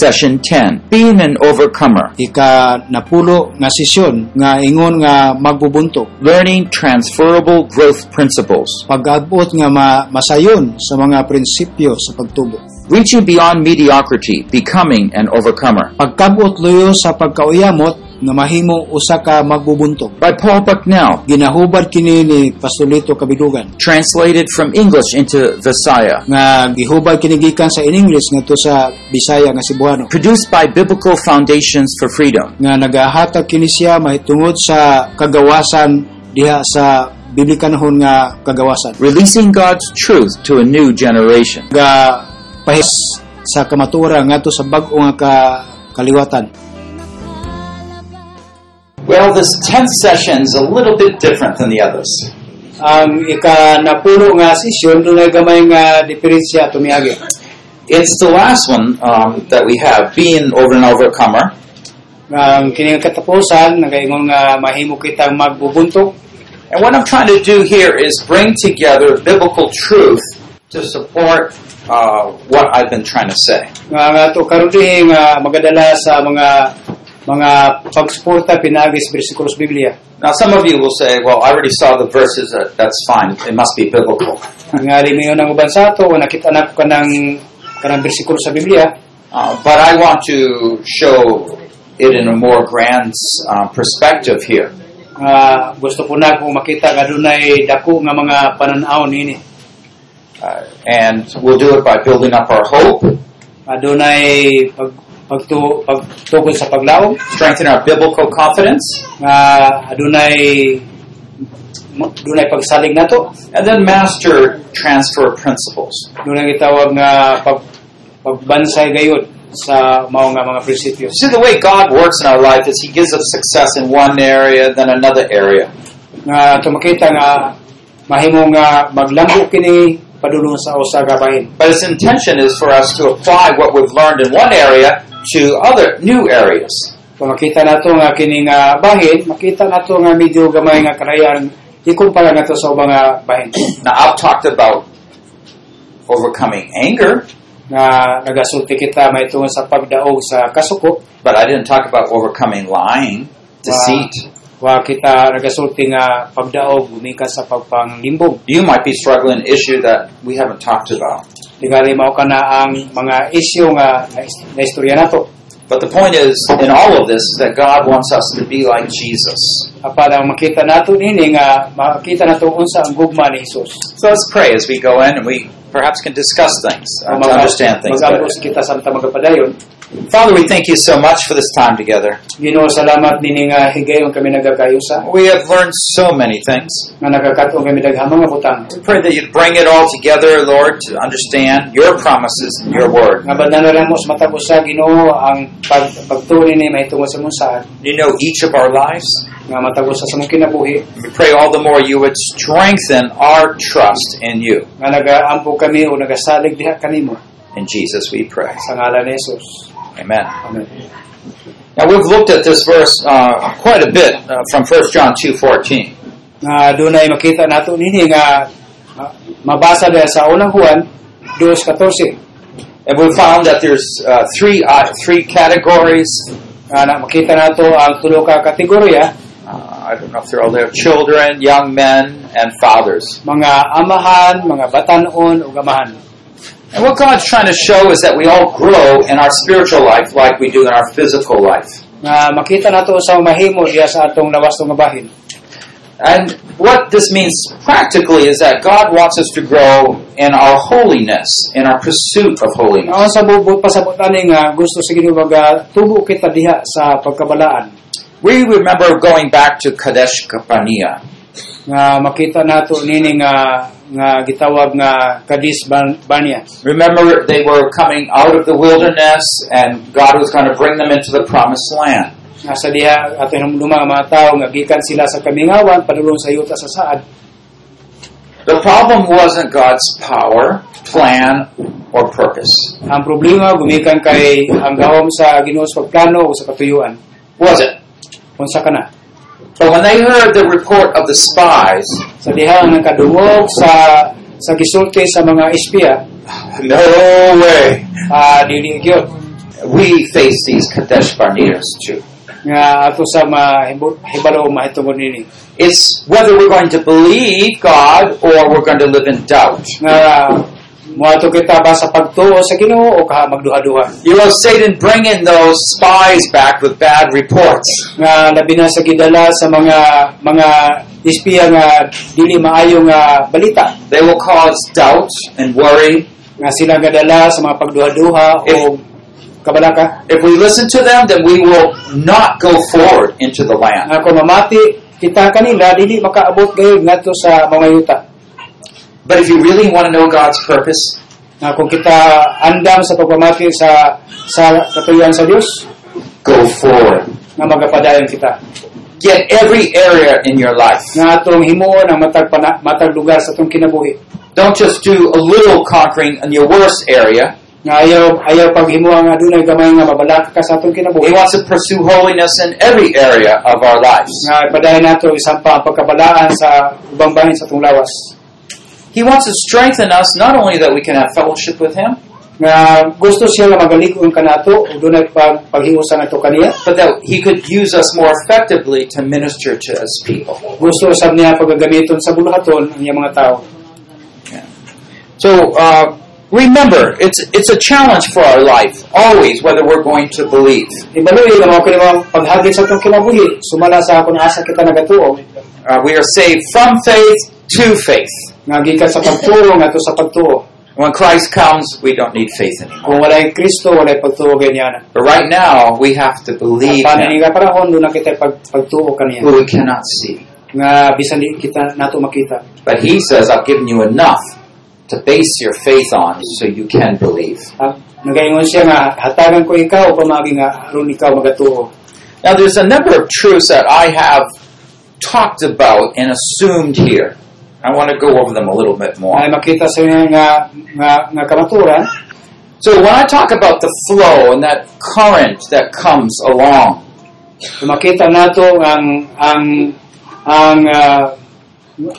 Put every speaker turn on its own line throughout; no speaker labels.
Session 10, Being an Overcomer,
ika napulo nga sesyon nga ingon nga magbubuntog
Learning Transferable Growth Principles,
pag-abot nga ma- masayon sa mga prinsipyo sa pagtubo
Reaching Beyond Mediocrity, Becoming an Overcomer,
pagkabot loyo sa pagkauyamot nga mahimong usa ka magbubuntog
by Paul Bucknell,
ginahubad kini ni Pastolito Kabidugan
translated from English into Visaya,
nga gihubad kini gikan sa English ngadto sa Bisaya nga Cebuano
produced by Biblical Foundations for Freedom,
nga nagahatag kini siya mahitungod sa kagawasan diha sa biblikanhon nga kagawasan
releasing God's truth to a new generation.
nga pahis sa kamatura ngadto sa bag-o nga ka- kaliwatan
Well, this 10th session is a little bit different than the others.
ang ika napulo nga sesyon dunay gamay nga diferensya tumiagi
It's the last one um, that we have, Being Over an Overcomer.
ang kini nga katapusan nagaingon nga mahimo kitang magbubuntog
And what I'm trying to do here is bring together biblical truth to support uh, what I've been trying to say.
nga nga to karon dihi nga magadala sa mga mga pagsuporta pinaagi sa bersikulo sa Biblia
Now, some of you will say, well, I already saw the verses, that, that's fine, it must be biblical.
nga lingayon ang uban sa ato o nakita na ko kanang kanang bersikulo sa Biblia
Uh, but I want to show it in a more grand uh, perspective here.
nga gusto ko na kung makita nga dunay dako nga mga pananaw nini
Uh, and we'll do it by building up our hope,
nga dunay pag pagtu pagtugon sa paglaom
strengthen our biblical confidence,
nga adunay dunay pagsalig nato
and then master transfer principles.
dunay gitawag nga pag pagbansay gayud sa mao nga mga prinsipyo
See, the way God works in our life is He gives us success in one area, then another area.
nga tumakita nga mahimo nga maglambo kini padulong sa usa ka bahin
But His intention is for us to apply what we've learned in one area to other new areas.
makita nato nga kini nga bahin makita nato nga medyo gamay nga karayan ikumpara nato sa ubang nga bahin
Now, I've talked about overcoming anger,
nga nagasulti kita mahitungod sa pagdaog sa kasuko
but I didn't talk about overcoming lying, deceit.
wa kita nagasulti nga pagdaog gumikan sa pagpanglimbong
You might be struggling with an issue that we haven't talked about.
tingali mao kana ang mga isyu nga na istorya nato
But the point is, in all of this, is that God wants us to be like Jesus.
apan ang makita nato nini nga makita nato unsa ang gugma ni Hesus
So let's pray as we go in and we perhaps can discuss things, uh, to
Mag-
understand things better.
mag-ambos kita samtang magapadayon
Father, we thank you so much for this time together.
Ginoo salamat nini nga higayon kami nagakayusa
We have learned so many things.
nga nagakatong kami daghamang nga butang
We pray that you'd bring it all together, Lord, to understand your promises and your word.
nga banda na lang mo sa matag usa Ginoo ang pag pagtuli ni mahitungod sa mong saan
You know each of our lives.
nga matag usa sa mong kinabuhi
We pray all the more you would strengthen our trust in you.
nga nagaampo kami o nagasalig diha kanimo
In Jesus we pray.
sa ngalan ni Hesus
Amen.
amen
Now we've looked at this verse uh, quite a bit uh, from 1 John 2.14.
nga dunay makita nato nini nga ma- mabasa dahil sa unang Juan 2:14
And we found that there's uh, three, uh, three categories.
nga na- makita nato ang tulo ka kategorya
Uh, I don't know if they're all there. Children, young men, and fathers.
mga amahan, mga batanon ug amahan.
And what God's trying to show is that we all grow in our spiritual life like we do in our physical life.
Nga makita nato sa mahimo diha sa atong nawastong nga bahin.
And what this means practically is that God wants us to grow in our holiness, in our pursuit of holiness.
Nga sa bubot pasabot ani nga gusto sa Ginoo baga tubo kita diha sa pagkabalaan.
We remember going back to Kadesh Kapania.
Nga makita nato nini nga nga gitawag nga Kadis Ban- Banya.
Remember, they were coming out of the wilderness, and God was going to bring them into the promised land.
Nga sa diha ato hinumduma nga mga tao nga gikan sila sa kamingawan padulong sa yuta sa saad.
The problem wasn't God's power, plan, or purpose,
Ang problema gumikan kay ang gawom sa Ginoo sa pagplano o sa katuyuan.
was it?
Unsa kana?
But when they heard the report of the spies,
Sa diha ang nakadungog sa sa gisulti sa mga espiya,
no way.
ah dili gyud.
we face these Kadesh Barneas too.
nga ato sa mahibalo hibalo mahitungod nini
It's whether we're going to believe God or we're going to live in doubt.
nga moato kita ba sa pagtuo sa Ginoo o kaha magduha-duha
You know, Satan bringing those spies back with bad reports.
nga labi na sa gidala sa mga mga espiya nga dili maayo nga balita
They will cause doubt and worry.
nga sila gadala sa mga pagduha-duha o kabalaka
If we listen to them, then we will not go forward into the land.
nga kung mamati kita kanila dili makaabot gayud ngadto sa mga yuta
But if you really want to know God's purpose,
nga kung kita andam sa pagpamati sa sa katuyan sa Dios
go forward.
nga magapadayon kita
Get every area in your life.
nga atong himuon ang matag pana, matag lugar sa atong kinabuhi
Don't just do a little conquering in your worst area.
nga ayaw ayaw paghimuon nga adunay gamay nga mabalaka ka sa atong kinabuhi
He wants to pursue holiness in every area of our lives.
nga padayon nato isang pa ang pagkabalaan sa ubang bahin sa atong lawas
He wants to strengthen us not only that we can have fellowship with Him,
nga gusto siya nga magalig-on kanato ug dunay pag paghiusan nato kaniya
but that He could use us more effectively to minister to His people.
gusto usab niya pagagamiton sa buluhaton ang iyang mga tao
So uh, remember, it's it's a challenge for our life always, whether we're going to believe.
ibaluy nga mao kini mao paghagit sa atong kinabuhi sumala sa akong asa kita nagatuo
Uh, we are saved from faith to faith.
nga gikan sa pagtuo nga sa pagtuo
When Christ comes, we don't need faith anymore.
kung walay Kristo walay pagtuo ganyan
But right now, we have to believe
paano
Him,
ni nga panahon doon na kita pag, pagtuo kaniya
who we cannot see.
nga bisan di kita nato makita
But He says, "I've given you enough to base your faith on, so you can believe."
ah, nagaingon siya nga hatagan ko ikaw upang maagi nga aron ikaw magatuo
Now, there's a number of truths that I have talked about and assumed here. I want to go over them a little bit more.
ay makita sa inyo nga nga, nga kamaturan
So, when I talk about the flow and that current that comes along,
makita nato ang ang ang ah,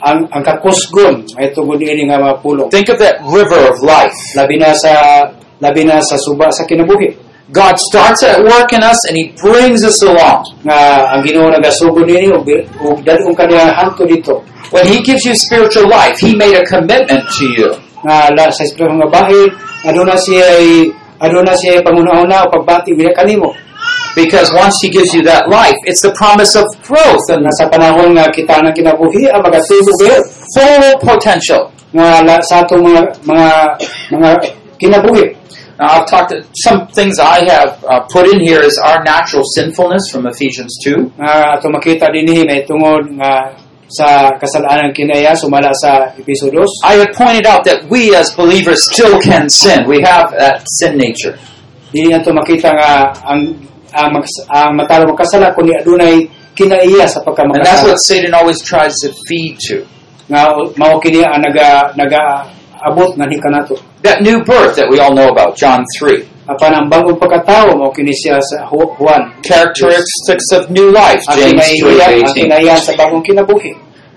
ang, ang kakusgon ay tungod ini nga mga pulong
think of that river of life.
labi na sa labi na sa suba sa kinabuhi
God starts at work in us and He brings us along.
nga ang Ginoo nagasugod nini ug ug dadung kaniya hanto dito
When He gives you spiritual life, He made a commitment to you.
nga la, sa espiritual nga bahin aduna ano siya ay aduna siya ay panguna-una o pagbati biya kanimo
Because once He gives you that life, it's the promise of growth and
nga sa panahon nga kita nang kinabuhi ang magatubog gyud
full potential.
nga la, sa atong mga mga mga kinabuhi
Now, I've talked some things I have uh, put in here is our natural sinfulness from Ephesians 2.
nga ato makita dinhi na itungod nga sa kasalanan kinaya sumala sa episodos
I have pointed out that we as believers still can sin. We have that sin nature.
dinhi ato makita nga ang ang, mags- ang matalo magkasala kundi adunay kinaiya sa
And that's
pagkamakasala
what Satan always tries to feed to.
nga mao kini ang naga naga abot na hika nato
That new birth that we all know about, John 3.
apan ang bagong pagkatao mao kini siya sa Ju- Juan
Characteristics of new life,
ang
James
kinaiya ang
3 18.
kinaiya sa bagong kinabuhi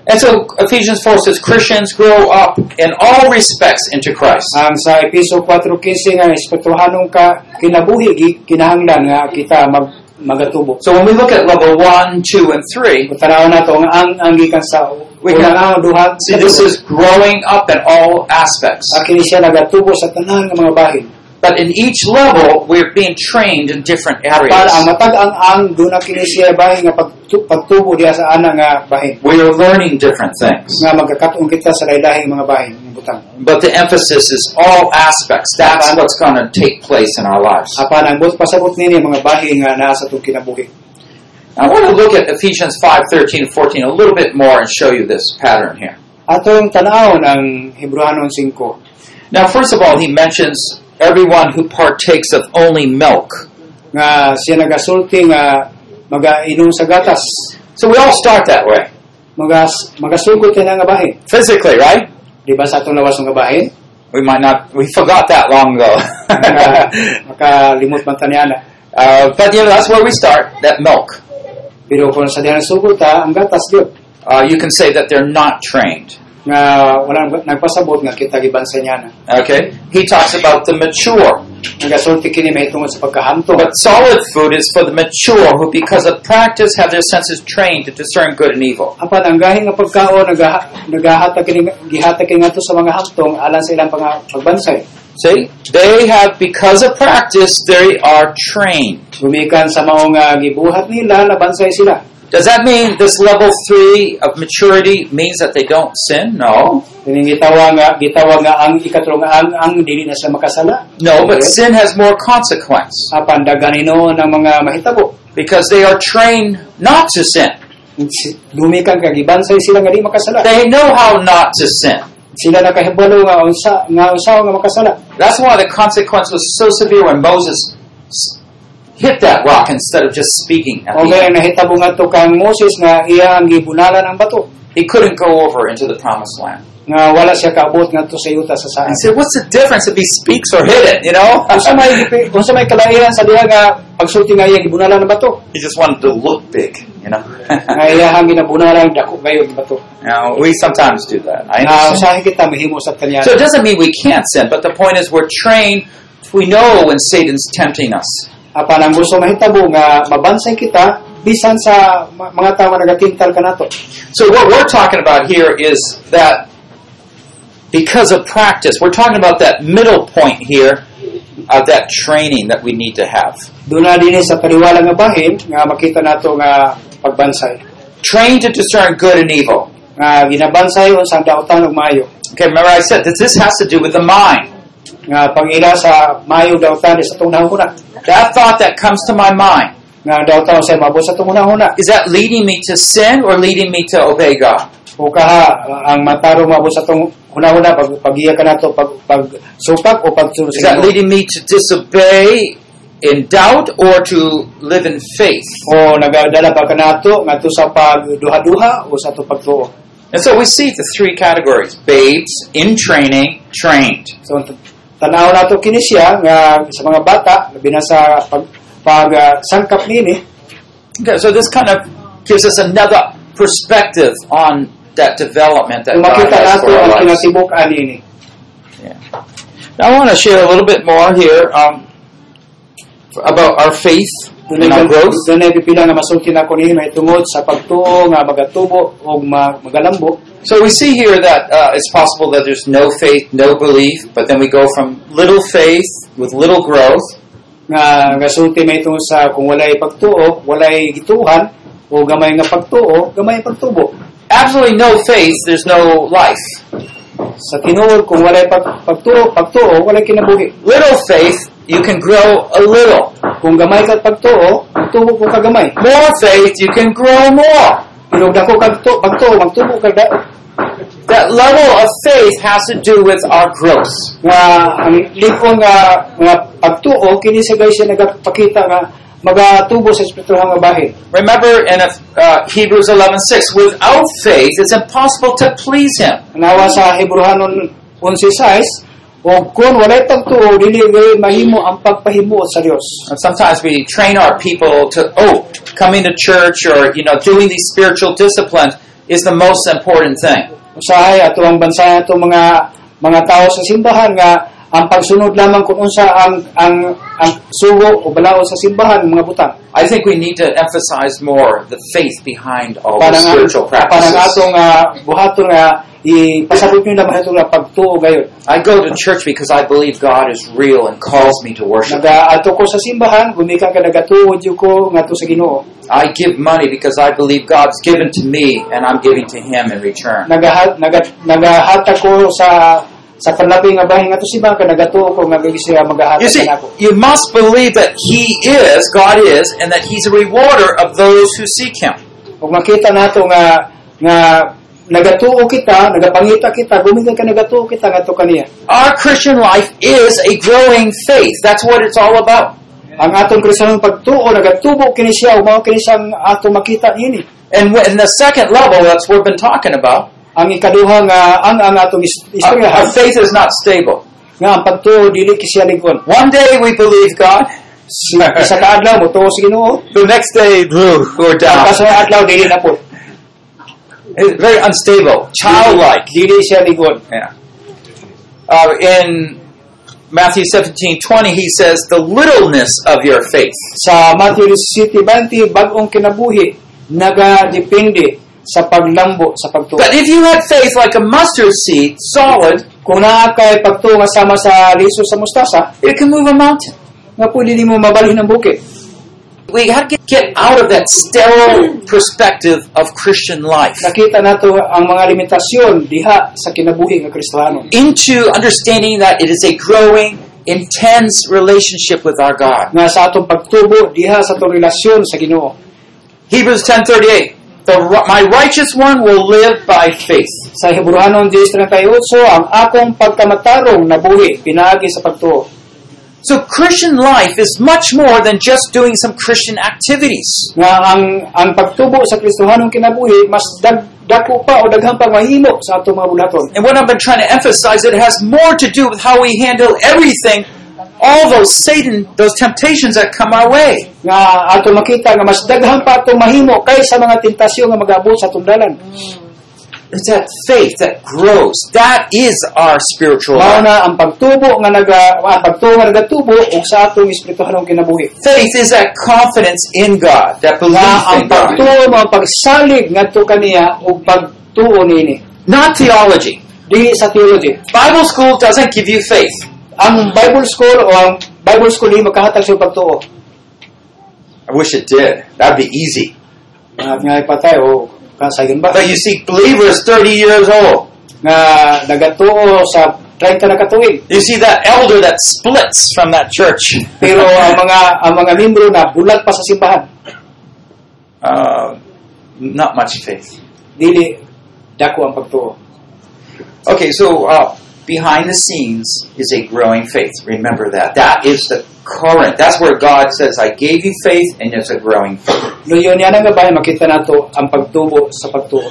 And so Ephesians 4 says Christians grow up in all respects into Christ.
ang sa episo 4.15 nga espirituhanong ka kinabuhi gi- kinahanglan nga kita mag magatubo
So when we look at level 1, 2, and 3,
tanaw na to nga ang ang gikan sa
We
una
can-
nga duha
see this is growing up in all aspects.
akin siya nagatubo sa tanan nga mga bahin
But in each level, we're being trained in different
para ang
areas.
matag ang ang duna kini siya bahin nga pagtu- pagtubo diha sa ana nga bahin
We are learning different things.
nga magkakatong kita sa lain-lahing mga bahin ng butang
But the emphasis is all aspects. That's what's going to take place in our lives.
apan ang buot pasabot nini mga bahin nga naa sa tong kinabuhi
I want to look at Ephesians 5, 13, and 14 a little bit more and show you this pattern here.
atong tanawon ang Hebrewanon 5
Now, first of all, he mentions everyone who partakes of only milk.
nga siya nagasulti nga magainom sa gatas.
So we all start that way.
Magas, magasugod tayo ng gabahin.
Physically, right?
Di ba sa atong lawas ng gabahin?
We might not, we forgot that long ago.
Nga, makalimot man taniyana.
uh, but you know, that's where we start, that milk.
Pero kung sa diyan sugod ta, ang gatas gyud
Uh, you can say that they're not trained.
nga wala nang- nagpasabot nga kita gibansa niya na.
Okay? He talks about the mature.
Nagasulti kini mahitungod sa pagkahanto.
But solid food is for the mature who, because of practice, have their senses trained to discern good and evil.
Apan ang gahing nga pagkaon nagaha- nagahata kini gihata kini ngadto sa mga hantong alang sa ilang pang pagbansay.
See, they have, because of practice, they are trained.
Gumikan sa mao nga gibuhat nila nabansay sila.
Does that mean this level three of maturity means that they don't sin? No.
Kini gitawa nga gitawa nga ang ikatlong ang ang dili na sa makasala.
No, but sin has more consequence
Apan daganino ng mga mahitabo.
because they are trained not to sin.
Si- Gumikan kag ibansay sila nga di makasala.
They know how not to sin.
Sila nakahibalo nga unsa nga usaw nga makasala.
That's why the consequence was so severe when Moses s- hit that rock instead of just speaking. At
O
the
kaya
end.
nahitabo nga to kang Moses nga iya ang gibunalan ang bato
He couldn't go over into the promised land.
nga wala siya kaabot nga to sa yuta sa
I
saan.
said, what's the difference if he speaks or hit it, you know?
Unsa may unsa may kalaihan sa diha nga pagsulti nga iya gibunalan ang bato.
he just wanted to look big, you know?
Nga iya ang ginabunalan dako kayo ang bato.
now, we sometimes do that. I
Nga
understand.
usahay kita mahimo sa kanya.
Ah, So it doesn't mean we can't sin, but the point is we're trained, we know when Satan's tempting us.
Apan Ah, ang gusto mahitabo nga mabansay kita bisan sa ma- mga tao nga nagatintal kanato.
So what we're talking about here is that because of practice, we're talking about that middle point here of that training that we need to have.
Duna dinhi sa paniwala nga bahin nga makita nato nga pagbansay.
Trained to discern good and evil.
Nga ginabansay unsang daotan ug maayo.
Okay, remember I said that this has to do with the mind.
Nga pangila sa maayo daotan sa tunghang huna.
That thought that comes to my mind,
Nga daotan sa mabot sa tunghang huna.
is that leading me to sin or leading me to obey God?
O kaha ang matarong mabot sa tunghang huna pag pagiya kanato pag pag supak o pag
Is that leading me to disobey in doubt or to live in faith?
o nagadala pa kanato ngadto sa pagduha-duha o sa to pagtuo.
And so we see the three categories babes, in training, trained.
So t- tanaw nato kini siya nga sa mga bata labi na sa pag, pag ah, sangkap nini
Okay, so this kind of gives us another perspective on that development that
kung
God
makita
has
nato
for our
ang
lives.
kinatibuk-an nini.
Now I want to share a little bit more here um, about our faith and our growth.
Dunay pipila nga masulti na ko nini mahitungod sa pagtuo nga magatubo o ma- magalambo.
So we see here that uh, it's possible that there's no faith, no belief, but then we go from little faith with little growth
nga gasulti mahitungod sa kung walay pagtuo, walay gituhan o gamay nga pagtuo, gamay pagtubo.
absolutely no faith, there's no life.
Sa tinuod kung walay pag, pagtuo, pagtuo walay kinabuhi.
Little faith, you can grow a little.
Kung gamay ka pagtuo, tubo ko kagamay.
More faith, you can grow more.
Pero dako kag tu- pagtuo, magtubo ka da-
That level of faith has to do with our growth.
nga ang likon nga nga pagtuo kini sa guys siya nagapakita nga magatubo sa espirituhang nga bahin.
Remember in uh, Hebrews 11:6, without faith, it's impossible to please Him.
Nawa sa Hebrewanon 11:6 o kung walay pagtuo dili gayud mahimo ang pagpahimuot sa Dios.
And sometimes we train our people to, oh, coming to church or, you know, doing these spiritual disciplines is the most important thing.
Usahay ato ang bansa ato mga mga tao sa simbahan nga ang pagsunod lamang kung unsa ang ang ang sugo o balaod sa simbahan mga butang.
I think we need to emphasize more the faith behind all the
Parang ang
spiritual
parang
practices.
atong buhaton nga ipasabot niyo naman itong nga pagtuo gayon.
I go to church because I believe God is real and calls me to worship.
Nagaato ko sa simbahan, gumikan ka nagatuod yun ko nga to sa Ginoo.
I give money because I believe God's given to me and I'm giving to Him in return.
Nagahat nagat nagahata ko sa sa kanlapi nga bahin nga to simbahan ka nagatuo ko nga gagi siya magahata
You see,
ka nako.
you must believe that He is, God is, and that He's a rewarder of those who seek Him.
Ug makita nato nga nga nagatuo kita, nagapangita kita, gumikan ka nagatuo kita nga to kaniya.
Our Christian life is a growing faith. That's what it's all about.
Ang atong Kristiyanong pagtuo nagatubo kini siya umaw kini siyang ato makita ini.
And when- in the second level, that's what we've been talking about.
Ang ikaduha nga ang ang atong is-
Our, our
istoryahan
faith is not stable.
nga ang pagtuo dili kisya lingon.
One day we believe God,
Si- Isa ka adlaw mo tuo sa Ginoo,
the next day ugh, we're down.
kaso adlaw dili na po.
It's very unstable, childlike.
Dili siya ligon.
Yeah. Uh, in Matthew 17 20, he says, The littleness of your faith.
Sa Matthew City Banti, bagong kinabuhi, nagadepende sa paglambo, sa pagtuwa.
But if you had faith like a mustard seed, solid,
Kung naa kay pagtuwa sama sa liso sa mustasa, eh,
it can move a mountain.
nga pwede ni mo mabalhin ang bukid.
We have to get out of that sterile perspective of Christian life
Nakita nato ang mga limitasyon diha sa kinabuhi nga Kristiyano.
into understanding that it is a growing, intense relationship with our God.
Nga sa atong pagtubo diha sa atong relasyon sa Ginoo.
Hebrews 10:38 the, ri- My righteous one will live by faith.
Sa Hebrewanon 10:38 ang akong pagkamatarong nabuhi pinaagi sa pagtuo.
So Christian life is much more than just doing some Christian activities.
Nga ang ang pagtubo sa Kristohanong kinabuhi mas dag, dako pa o daghang pa mahimo sa atong mga bulaton.
And what I've been trying to emphasize, it has more to do with how we handle everything, all those Satan, those temptations that come our way.
Nga ato makita nga mas daghang pa atong mahimo kaysa mga tentasyon nga mag-abot sa atong dalan.
It's that faith that grows. That is our spiritual life.
Mao na ang pagtubo nga naga ang pagtuo nga nagatubo ug sa atong espirituhanong kinabuhi.
Faith is that confidence in God, that
nga
belief
ang
in God.
pagtuo mao pagsalig ngadto kaniya ug pagtuo niini
Not theology.
di sa theology
Bible school doesn't give you faith.
ang Bible school o ang Bible school ay makahatag sa pagtuo
I wish it did. That'd be easy.
Ah, nga ipatay o kasayon ba
But you see, believers 30 years old.
nga nagatuo sa 30 na katuig
You see that elder that splits from that church.
pero ang mga ang mga membro na bulag pa sa simbahan
Uh, not much faith.
dili dako ang pagtuo
Okay, so uh, behind the scenes is a growing faith. Remember that. That is the current. That's where God says, I gave you faith, and it's a growing faith.
Luyon yan ang gabay, makita nato ang pagtubo sa pagtuo.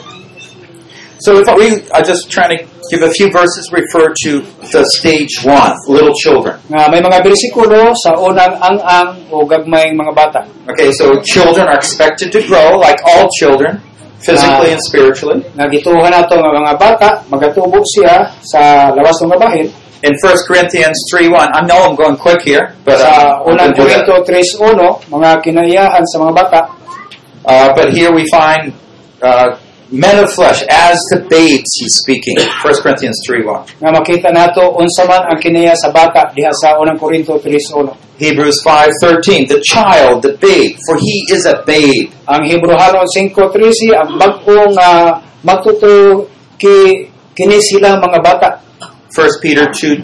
So if we are just trying to give a few verses refer to the stage one, little children.
Nga may mga bersikulo sa unang ang-ang o gagmayng mga bata.
Okay, so children are expected to grow like all children, physically and spiritually.
nga gituhan nato nga mga bata magatubo siya sa lawas ng bahin
In 1 Corinthians 3 1, I know I'm going quick here, but uh,
sa
I'm
unang
gonna do that.
Korinto 3:1 mga kinaiyahan sa mga bata
Uh, but here we find uh, men of flesh, as the babes, he's speaking. 1 Corinthians 3 1.
nga makita nato unsa man ang kinaiya sa bata diha sa unang Korinto 3:1
Hebrews five thirteen, the child, the babe, for he is a babe.
ang Hebrewano 5:13 ang bag-o nga magtuto ki kini sila mga bata
1 Peter 2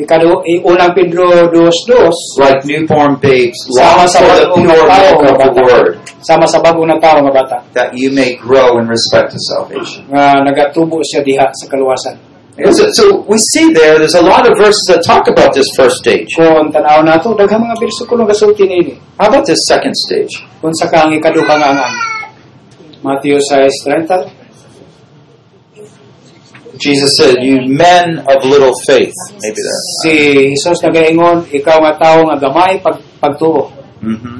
2,
ikado unang Pedro 2:2
like newborn babes,
sama
long
sa
for the
bagong
pure
tao
milk
nga
of the
bata
word,
sama sa bagong na tao nga bata
that you may grow in respect to salvation.
nga nagatubo siya diha sa kaluwasan
So, so we see there, there's a lot of verses that talk about this first stage.
kung tanaw nato daghang mga bersikulo nga sulti niini
How about this second stage?
kung sa kang ikaduhang angan. Matthew 6.30
Jesus said, You men of little faith. Maybe that.
Si Jesus nagaingon, ikaw nga tao nga gamay pag, pagtuo.
Mm-hmm.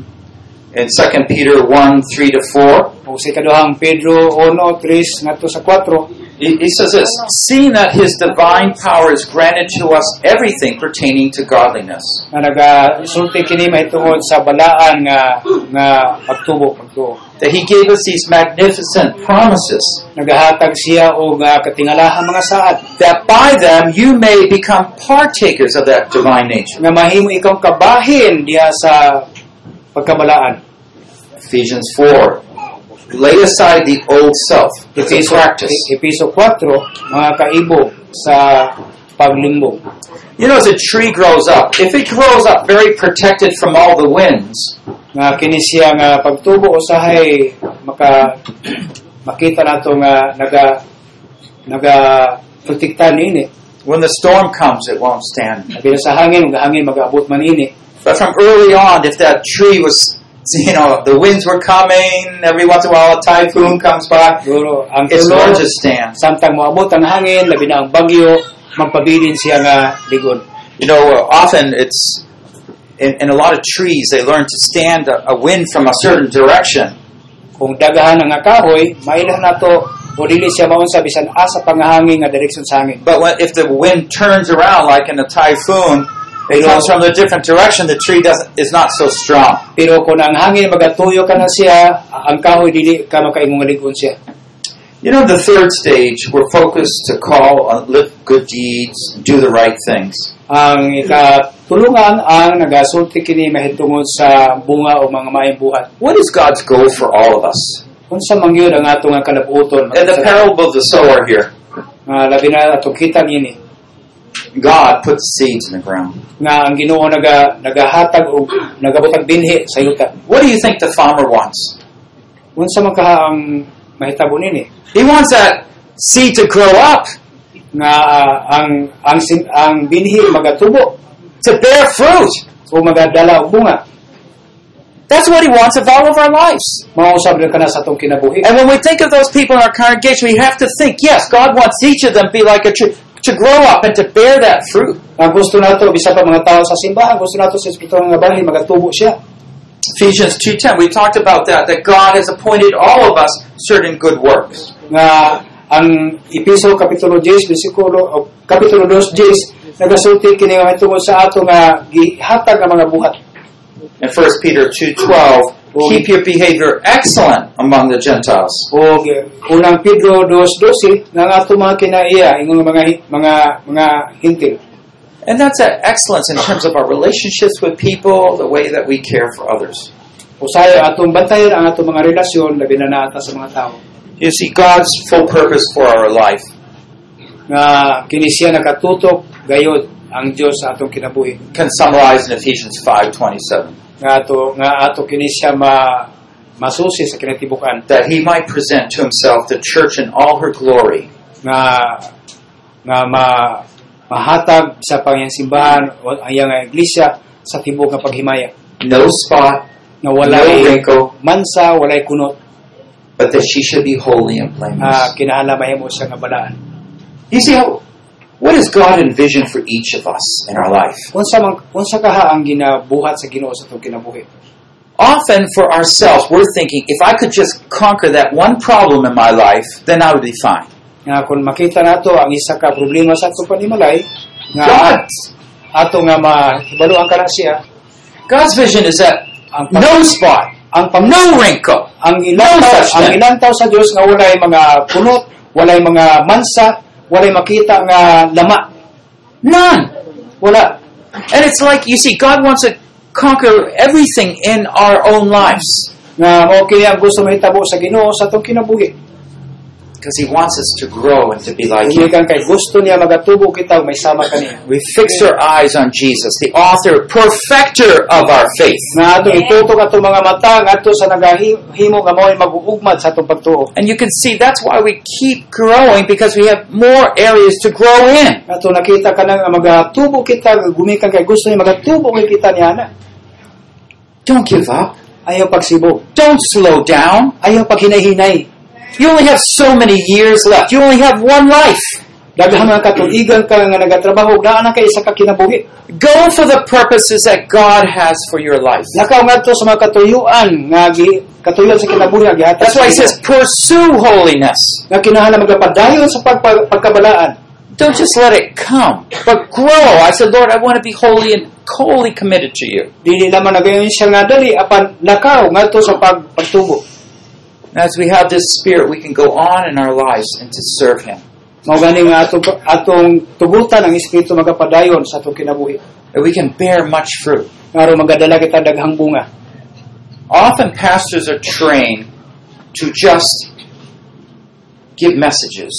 In 2 Peter 1 3 to 4,
O Oh, si kaduhang Pedro 1.3 ngadto sa 4,
He, he says this Seeing that his divine power is granted to us everything pertaining to godliness.
na nagasulti kini mahitungod sa balaan nga nga pagtubo pagtuo.
That he gave us these magnificent promises,
Nagahatag siya og nga katingalahang mga saad
that by them you may become partakers of that divine nature.
nga mahimo ikaw kabahin diha sa pagkabalaan.
Ephesians 4. Lay aside the old self. It's a
Episo,
practice.
E- Episo 4, mga kaibo sa paglimbong.
You know, as a tree grows up, if it grows up very protected from all the winds,
nga kini siya nga pagtubo usahay maka makita nato nga naga naga protektahan niini
when the storm comes, it won't stand.
Labi na sa hangin ug hangin magaabot man ini
But from early on, if that tree was, you know, the winds were coming, every once in a while a typhoon comes by,
duro ang
it's
tulo
going to stand.
samtang moabot ang hangin labi na ang bagyo magpabilin siya nga ligon
You know, uh, often it's, in, in a lot of trees, they learn to stand a, a wind from a certain direction.
kung dagahan ang kahoy mailah nato o dili siya maunsa bisan asa pangahangin nga direksyon sa hangin.
But when, if the wind turns around, like in a typhoon, it
Pero-
comes from a different direction. The tree doesn't is not so strong.
Pero kung ang hangin magatuyo ka na siya, ang kahoy dili ka makaingong ligon siya.
You know, the third stage, we're focused to call on live good deeds, do the right things.
Ang ikatulungan ang nagasulti kini mahitungod sa bunga o mga maayong buhat.
What is God's goal for all of us?
Unsa man gyud ang atong nga kalabuton?
In the parable of the sower here,
Nga labi na atong kita niini
God puts seeds in the ground.
nga ang Ginoo naga nagahatag og nagabutag binhi sa yuta.
What do you think the farmer wants?
Unsa man kaha ang mahitabo nini?
He wants that seed to grow up,
Nga ah, ang ang sin, ang binhi magatubo
to bear fruit.
o magadala og bunga.
That's what he wants of all of our lives.
Mausab lang kana sa atong kinabuhi.
And when we think of those people in our congregation, we have to think, yes, God wants each of them to be like a tree, to grow up and to bear that fruit.
Ang gusto nato bisa pa mga tao sa simbahan, gusto nato sa espirituwal nga bali magatubo siya.
Ephesians 2.10, we talked about that, that God has appointed all of us certain good works.
nga ang Episo Kapitulo 10, Bisikulo, o Kapitulo 2, 10, nagasulti kini nga tungod sa ato nga gihatag ang mga buhat.
In 1 Peter 2.12, keep your behavior excellent among the Gentiles.
O unang Pedro 2, 12, nga ang ato mga kinaiya, ingong mga, mga, mga hintil.
And that's that excellence in terms of our relationships with people, the way that we care for others.
Usaya atong bantayan ang atong mga relasyon, labi na naata sa mga tao.
You see, God's full purpose for our life
Nga kini siya nakatutok, gayod ang Dios sa atong kinabuhi.
can summarize in Ephesians 5.27,
Nga ato, nga ato kini siya ma, masusi sa kinatibukan.
that he might present to himself the church in all her glory,
nga nga ma, mahatag sa pangyang simbahan o ang iyang iglesia sa tibuok nga paghimaya
no spot,
nga
no
walay
wrinkle,
mansa walay kunot
but that she should be holy and
uh,
blameless.
kinahanglan mahimo siya nga balaan
You see, how, what does God envision for each of us in our life?
unsa man unsa kaha ang ginabuhat sa Ginoo sa atong kinabuhi
Often for ourselves, we're thinking, if I could just conquer that one problem in my life, then I would be fine.
nga kung makita nato ang isa ka problema sa atong panimalay nga
God,
ato nga mahibalo ang kana siya
God's vision is that
ang pag-
no spot,
ang pam-
no wrinkle,
ang ilantaw,
No such
ang
thing.
ilantaw sa Dios nga walay mga kunot walay mga mansa walay makita nga lama
none.
Wala.
And it's like, you see, God wants to conquer everything in our own lives
Nga mao kini ang gusto mahitabo sa Ginoo sa atong kinabuhi.
because He wants us to grow and to be like Him.
Ingon kay gusto niya magatubo kita o may sama kaniya.
We fix our eyes on Jesus, the author, perfecter of our faith.
Nga ato itutok ato mga mata ngadto sa nagahimo nga mao'y mag-uugmad sa atong pagtuo.
And you can see that's why we keep growing because we have more areas to grow in.
Ato nakita ka nga magatubo kita gumikan kay gusto niya magatubo kay kita niya na.
Don't give up.
Ayaw pagsibo.
Don't slow down.
Ayaw paghinay-hinay.
You only have so many years left. You only have one life.
Daghan nga katuigan ka nga nagatrabaho ug naa na kay isa ka kinabuhi.
Go for the purposes that God has for your life.
Lakaw ngadto sa mga katuyuan nga gi- katuyon sa kinabuhi nga gihatag.
That's
sa
why he
Ginoo.
says, pursue holiness.
nga kinahanglan magapadayon sa pagpa- pagkabalaan.
Don't just let it come, but grow. I said, Lord, I want to be holy and wholly committed to you.
Dili naman nagayon siya nga dali apan lakaw ngadto sa pag pagtubo.
And as we have this spirit, we can go on in our lives and to serve him.
Mao gani nga atong atong tugutan ang espiritu magapadayon sa atong kinabuhi.
That we can bear much fruit.
Ngaro magadala kita daghang bunga.
Often pastors are trained to just give messages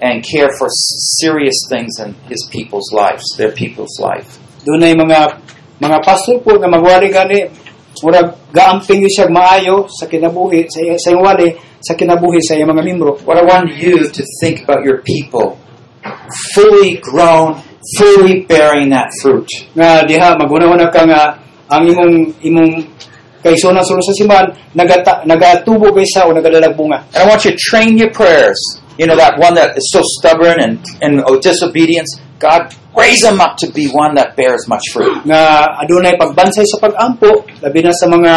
and care for s- serious things in his people's lives, their people's life.
Dunay mga mga pastor po nga magwali gani murag gaamping yun siya maayo sa kinabuhi sa iya- sa iyang wali sa kinabuhi sa iyang mga membro.
What I want you to think about your people, fully grown, fully bearing that fruit.
Nga diha magunawa na ka nga ang imong imong kaigsoon sa sa simbahan nagata, nagatubo kay sa o nagadalag bunga.
And I want you to train your prayers. You know, that one that is so stubborn and, and oh, disobedience. God, raise them up to be one that bears much fruit.
nga adunay pagbansay sa pag-ampo labi na sa mga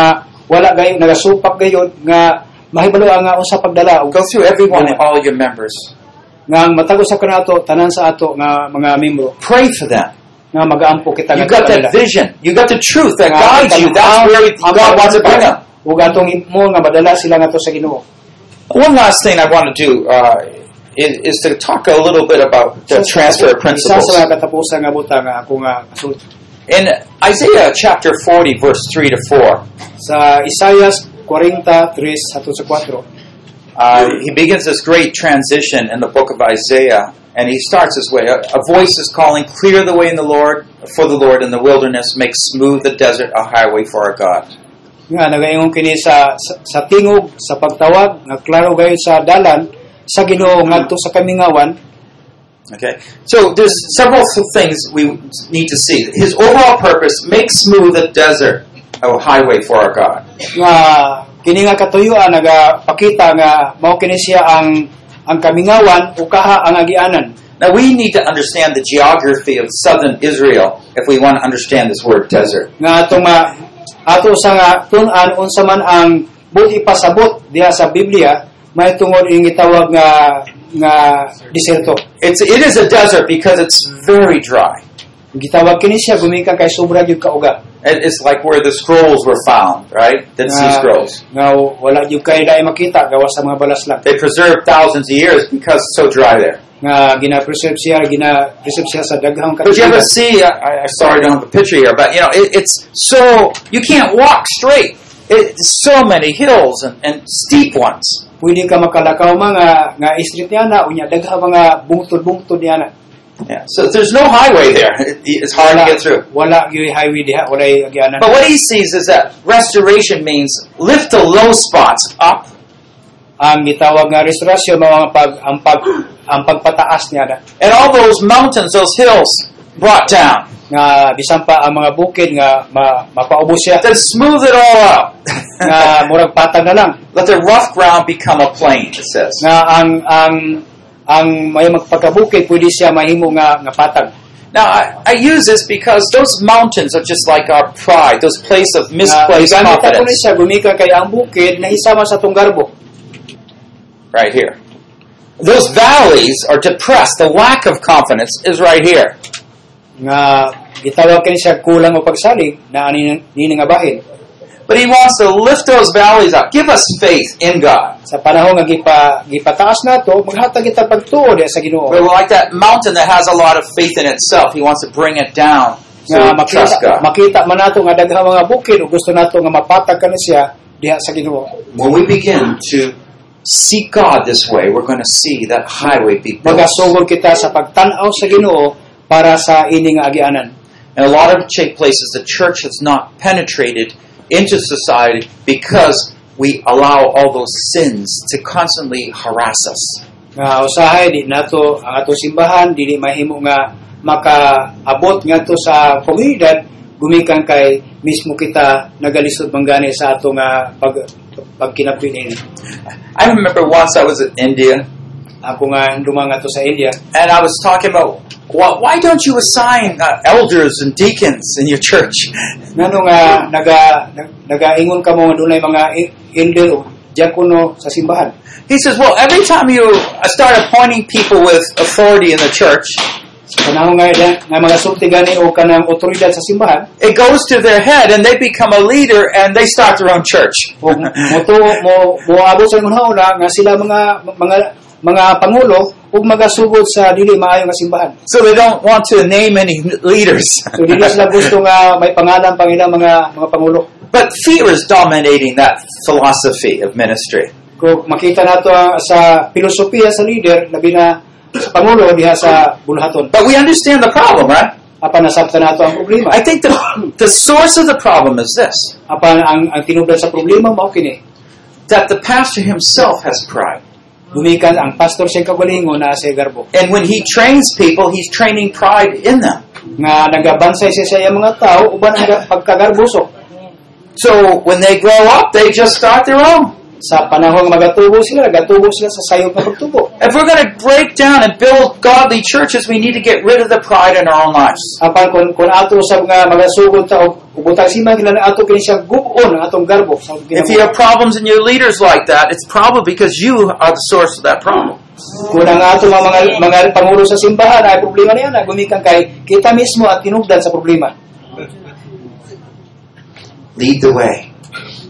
wala gayon nagasupak gayon nga mahibalo ang nga unsa pagdala og
Go through everyone and all your members.
nga ang matag usa kanato tanan sa ato nga mga membro
Pray for them.
nga magaampo kita
You got that vision. You got the truth that guides you. That's where God wants to bring them.
ug atong mo nga madala sila nga to sa Ginoo
One last thing I want to do uh, is, is to talk a little bit about the transfer of
Isa
principles.
sa mga katapusan nga butang nga ako nga kasulti
In Isaiah chapter 40, verse 3 to 4,
sa Isaiah 43 hangtod sa 4
uh, he begins this great transition in the book of Isaiah, and he starts this way a, a voice is calling, Clear the way in the Lord for the Lord in the wilderness, make smooth the desert a highway for our God.
nga nagaingon kini sa, sa sa tingog sa pagtawag nga klaro gayud sa dalan sa Ginoo ngadto sa kamingawan
Okay, so there's several things we need to see. His overall purpose: make smooth the desert a highway for our God.
nga kini nga katuyuan nagapakita nga mao kini siya ang ang kamingawan o kaha ang agianan
Now we need to understand the geography of southern Israel if we want to understand this word desert.
nga atong ma ato sa nga tun-an unsa man ang buti pasabot diha sa Biblia may tungod ing gitawag nga nga diserto
It's it is a desert because it's very dry.
gitawag kini siya gumikan kay sobra gyud kauga
It- It's like where the scrolls were found, right? The sea
nga,
scrolls.
nga wala gyud kay dai makita gawas sa mga balas lang
They preserved thousands of years because it's so dry there.
nga gina-preserve siya gina-preserve siya sa daghang
But you ever
katuyuan
see? I, I sorry, I don't have a picture here, but you know, it, it's so you can't walk straight. It, it's so many hills and, and steep ones.
pwede ka makalakaw mga nga street niya na unya dagha mga bungtod-bungtod niya na
Yeah. So there's no highway there. It, it's hard to get through.
wala gyud highway diha wala agyanan
But what he sees is that restoration means lift the low spots up
ang gitawag nga restorasyon mao ang pag ang pag ang pagpataas niya na
and all those mountains, those hills brought down.
nga bisan pa ang mga bukid nga ma, mapaubos siya
Then smooth it all out. Uh,
nga murag patag na lang
Let the rough ground become a plain, it says.
nga ang ang ang may magpagkabukid pwede siya mahimo nga nga patag
Now, I, I use this because those mountains are just like our pride, those place of
nga
misplaced
gamit ako ni
confidence.
siya gumika kay ang bukid na isama sa tong garbo
Right here. Those valleys are depressed. The lack of confidence is right here.
nga gitawag kini siya kulang o pagsalig na ani nini nga bahin
But he wants to lift those valleys up. Give us faith in God.
sa panahon nga gipa gipataas nato maghatag kita pagtuo diha sa Ginoo
But like that mountain that has a lot of faith in itself, he wants to bring it down so
nga
we trust
makita,
God.
makita man nato nga daghang mga bukid ug gusto nato nga mapatag kani siya diha sa Ginoo
When we begin to seek God this way, we're going to see that highway be built.
magasugod kita sa pagtan-aw sa Ginoo para sa ini nga agianan
In a lot of cha- places, the church has not penetrated into society because we allow all those sins to constantly harass us.
nga usahay di nato ang atong simbahan dili mahimo nga makaabot ngadto sa komunidad gumikan kay mismo kita nagalisod mangani sa ato nga pag pagkinabdin
I remember once I was in India
ako nga dumang ato sa India
and I was talking about why, why don't you assign uh, elders and deacons in your church?
ngano nga naga nag- nagaingon ka mo nga dunay mga i- elder o diakono sa simbahan
He says, Well, every time you start appointing people with authority in the church,
sa panahon nga da, nga mga sulti gani o kanang otoridad sa simbahan
it goes to their head and they become a leader and they start their own church.
o moto mo moabot sa mga una nga sila mga mga mga pangulo ug magasugod sa dili maayo nga simbahan
so they don't want to name any leaders.
so dili sila gusto nga may pangalan pang ilang mga mga pangulo
but fear is dominating that philosophy of ministry.
kung makita nato ang- sa pilosopiya sa leader labi na sa pangulo diha sa bulahaton
But we understand the problem, right?
apan nasabtan nato ang problema
I think the, the source of the problem is this
apan ang ang tinubdan sa problema mao kini
that the pastor himself has pride.
Gumikan ang pastor sa kagalingon na sa garbo.
And when he trains people, he's training pride in them.
Nga nagabansay siya sa iya mga tao, uban ang pagkagarbusok.
So when they grow up, they just start their own.
sa panahon nga magatubo sila, nagatubo sila sa sayop na pagtubo.
If we're going to break down and build godly churches, we need to get rid of the pride in our own lives.
Apan kung, kung ato usab nga magasugod ta og ubutang sima gila na ato kini siya gugon ang atong garbo sa atong
If you
ginabuhat.
have problems in your leaders like that, it's probably because you are the source of that problem.
Kung ang ato mga mga, mga pangulo sa simbahan ay problema niya na gumikan kay kita mismo at tinugdan sa problema.
Lead the way.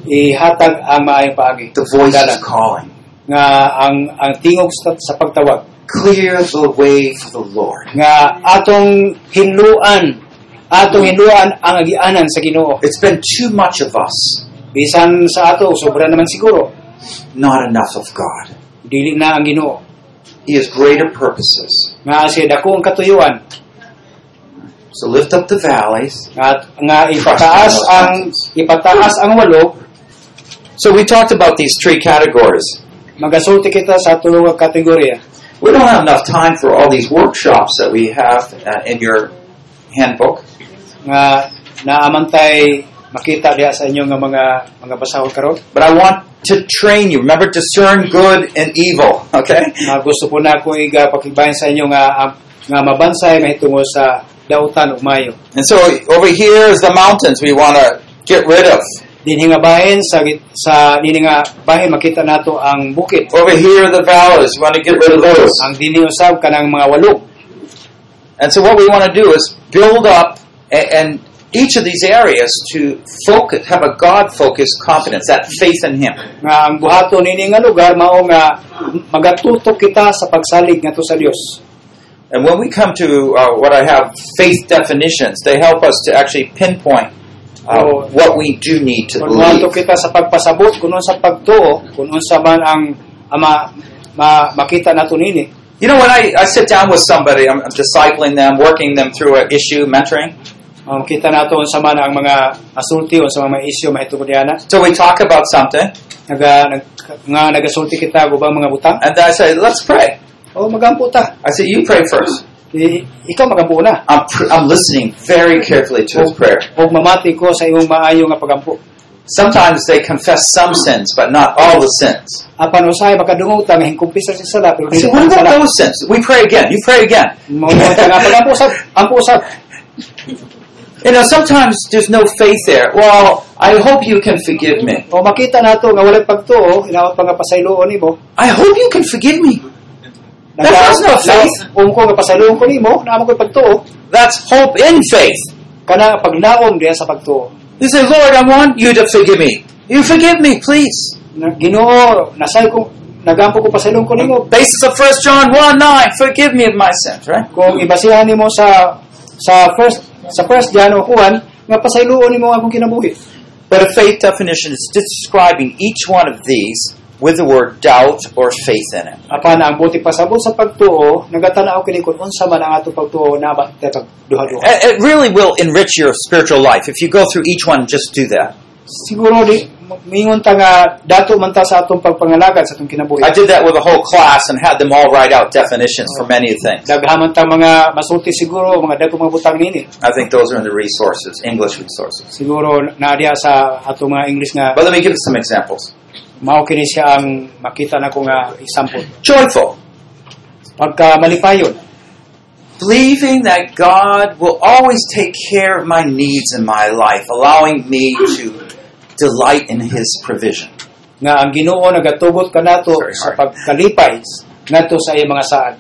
Ihatag ang maayong paagi.
The voice
Dalan.
is calling.
nga ang ang tingog sa, sa pagtawag
Clear the way for the Lord.
nga atong hinluan atong hinluan ang agianan sa Ginoo.
It's been too much of us,
Bisan sa ato sobra naman siguro
not enough of God.
dili na ang Ginoo
He has greater purposes.
nga siya dako ang katuyuan
So lift up the valleys.
At nga ipataas ang ipataas ang walog,
So we talked about these three categories.
magasulti kita sa tulo nga kategorya.
We don't have enough time for all these workshops that we have uh, in your handbook.
Nga naamantay makita diha sa inyo nga mga mga basahon karon.
But I want to train you. Remember, discern good and evil. Okay?
Nga gusto po na akong igapakibayan sa inyo nga ang- nga mabansay mahitungo sa dautan ug mayo.
And so over here is the mountains we want to get rid of.
Dinhi nga bahin sa git- sa dinhi nga bahin makita nato ang bukid.
Over here are the valleys. We want to get rid of those.
Ang dinhi usab kanang mga walog.
And so what we want to do is build up a- and each of these areas to focus, have a God-focused confidence, that faith in Him.
Nga ang buhaton nini nga lugar mao nga magatutok kita sa pagsalig ngadto sa Dios.
And when we come to uh, what I have faith definitions, they help us to actually pinpoint uh,
Oh.
what we do need to
Kunwanto
believe.
kita sa pagpasabot, kung unsa pagtuo, kung unsa man ang ama ma, makita nato nini.
You know, when I, I sit down with somebody, I'm, I'm discipling them, working them through an issue, mentoring.
Um, kita nato unsa man ang mga asulti unsa man mga isyu mahitungod diana.
So we talk about something,
Naga nag, nga nagasulti kita og ubang mga butang.
and then I say, let's pray.
O magampo ta.
I say, you pray first.
I, ikaw magampo na.
I'm, pr- I'm listening very carefully to his prayer.
Og mamati ko sa iyong maayo nga pagampo.
Sometimes they confess some sins, but not all the sins.
Apan usahay makadungog ta nga hingkumpis sa sala pero
I
dili
say,
ta
what about
sala.
those sins? We pray again. You pray again.
Mao ta nga pagampo usab, ampo usab.
You know, sometimes there's no faith there. Well, I hope you can forgive me.
O makita nato nga walay pagtuo, inawa pa nga pasayloon nimo.
I hope you can forgive me. That was no faith.
Naum ko nga pasalong ko nimo, naamo ko pagtuo.
That's hope in faith.
Kana pagnaom diha sa pagtuo.
You say, Lord, I want you to forgive me. You forgive me, please.
Na- Ginoo, nasay ko nagampo ko pasalong ko nimo.
Basis of 1 John 1 9, forgive me of my sins, right?
Kung ibasihan nimo sa sa first sa first John o Juan, nga pasayloon nimo ang akong kinabuhi.
But a faith definition is describing each one of these with the word doubt or faith in it.
Apan ang buti pasabot sa pagtuo, nagatanaw kini kun unsa man ang atong pagtuo na ba tetag duha-duha.
It it really will enrich your spiritual life. If you go through each one, just do that.
Siguro di mingon ta nga dato man ta sa atong pagpangalagad sa atong kinabuhi.
I did that with a whole class and had them all write out definitions for many things.
Daghaman ta mga masulti siguro mga dagko mga butang nini.
I think those are in the resources, English resources.
siguro naadiya sa ato mga English nga
But let me give some examples.
mao kini siya ang makita na ko nga example
Joyful.
pagka malipayon
believing that God will always take care of my needs in my life, allowing me to delight in His provision.
nga ang Ginoo nagatugot kanato
Sorry,
sa
sorry.
pagkalipay ngadto sa iyang mga saad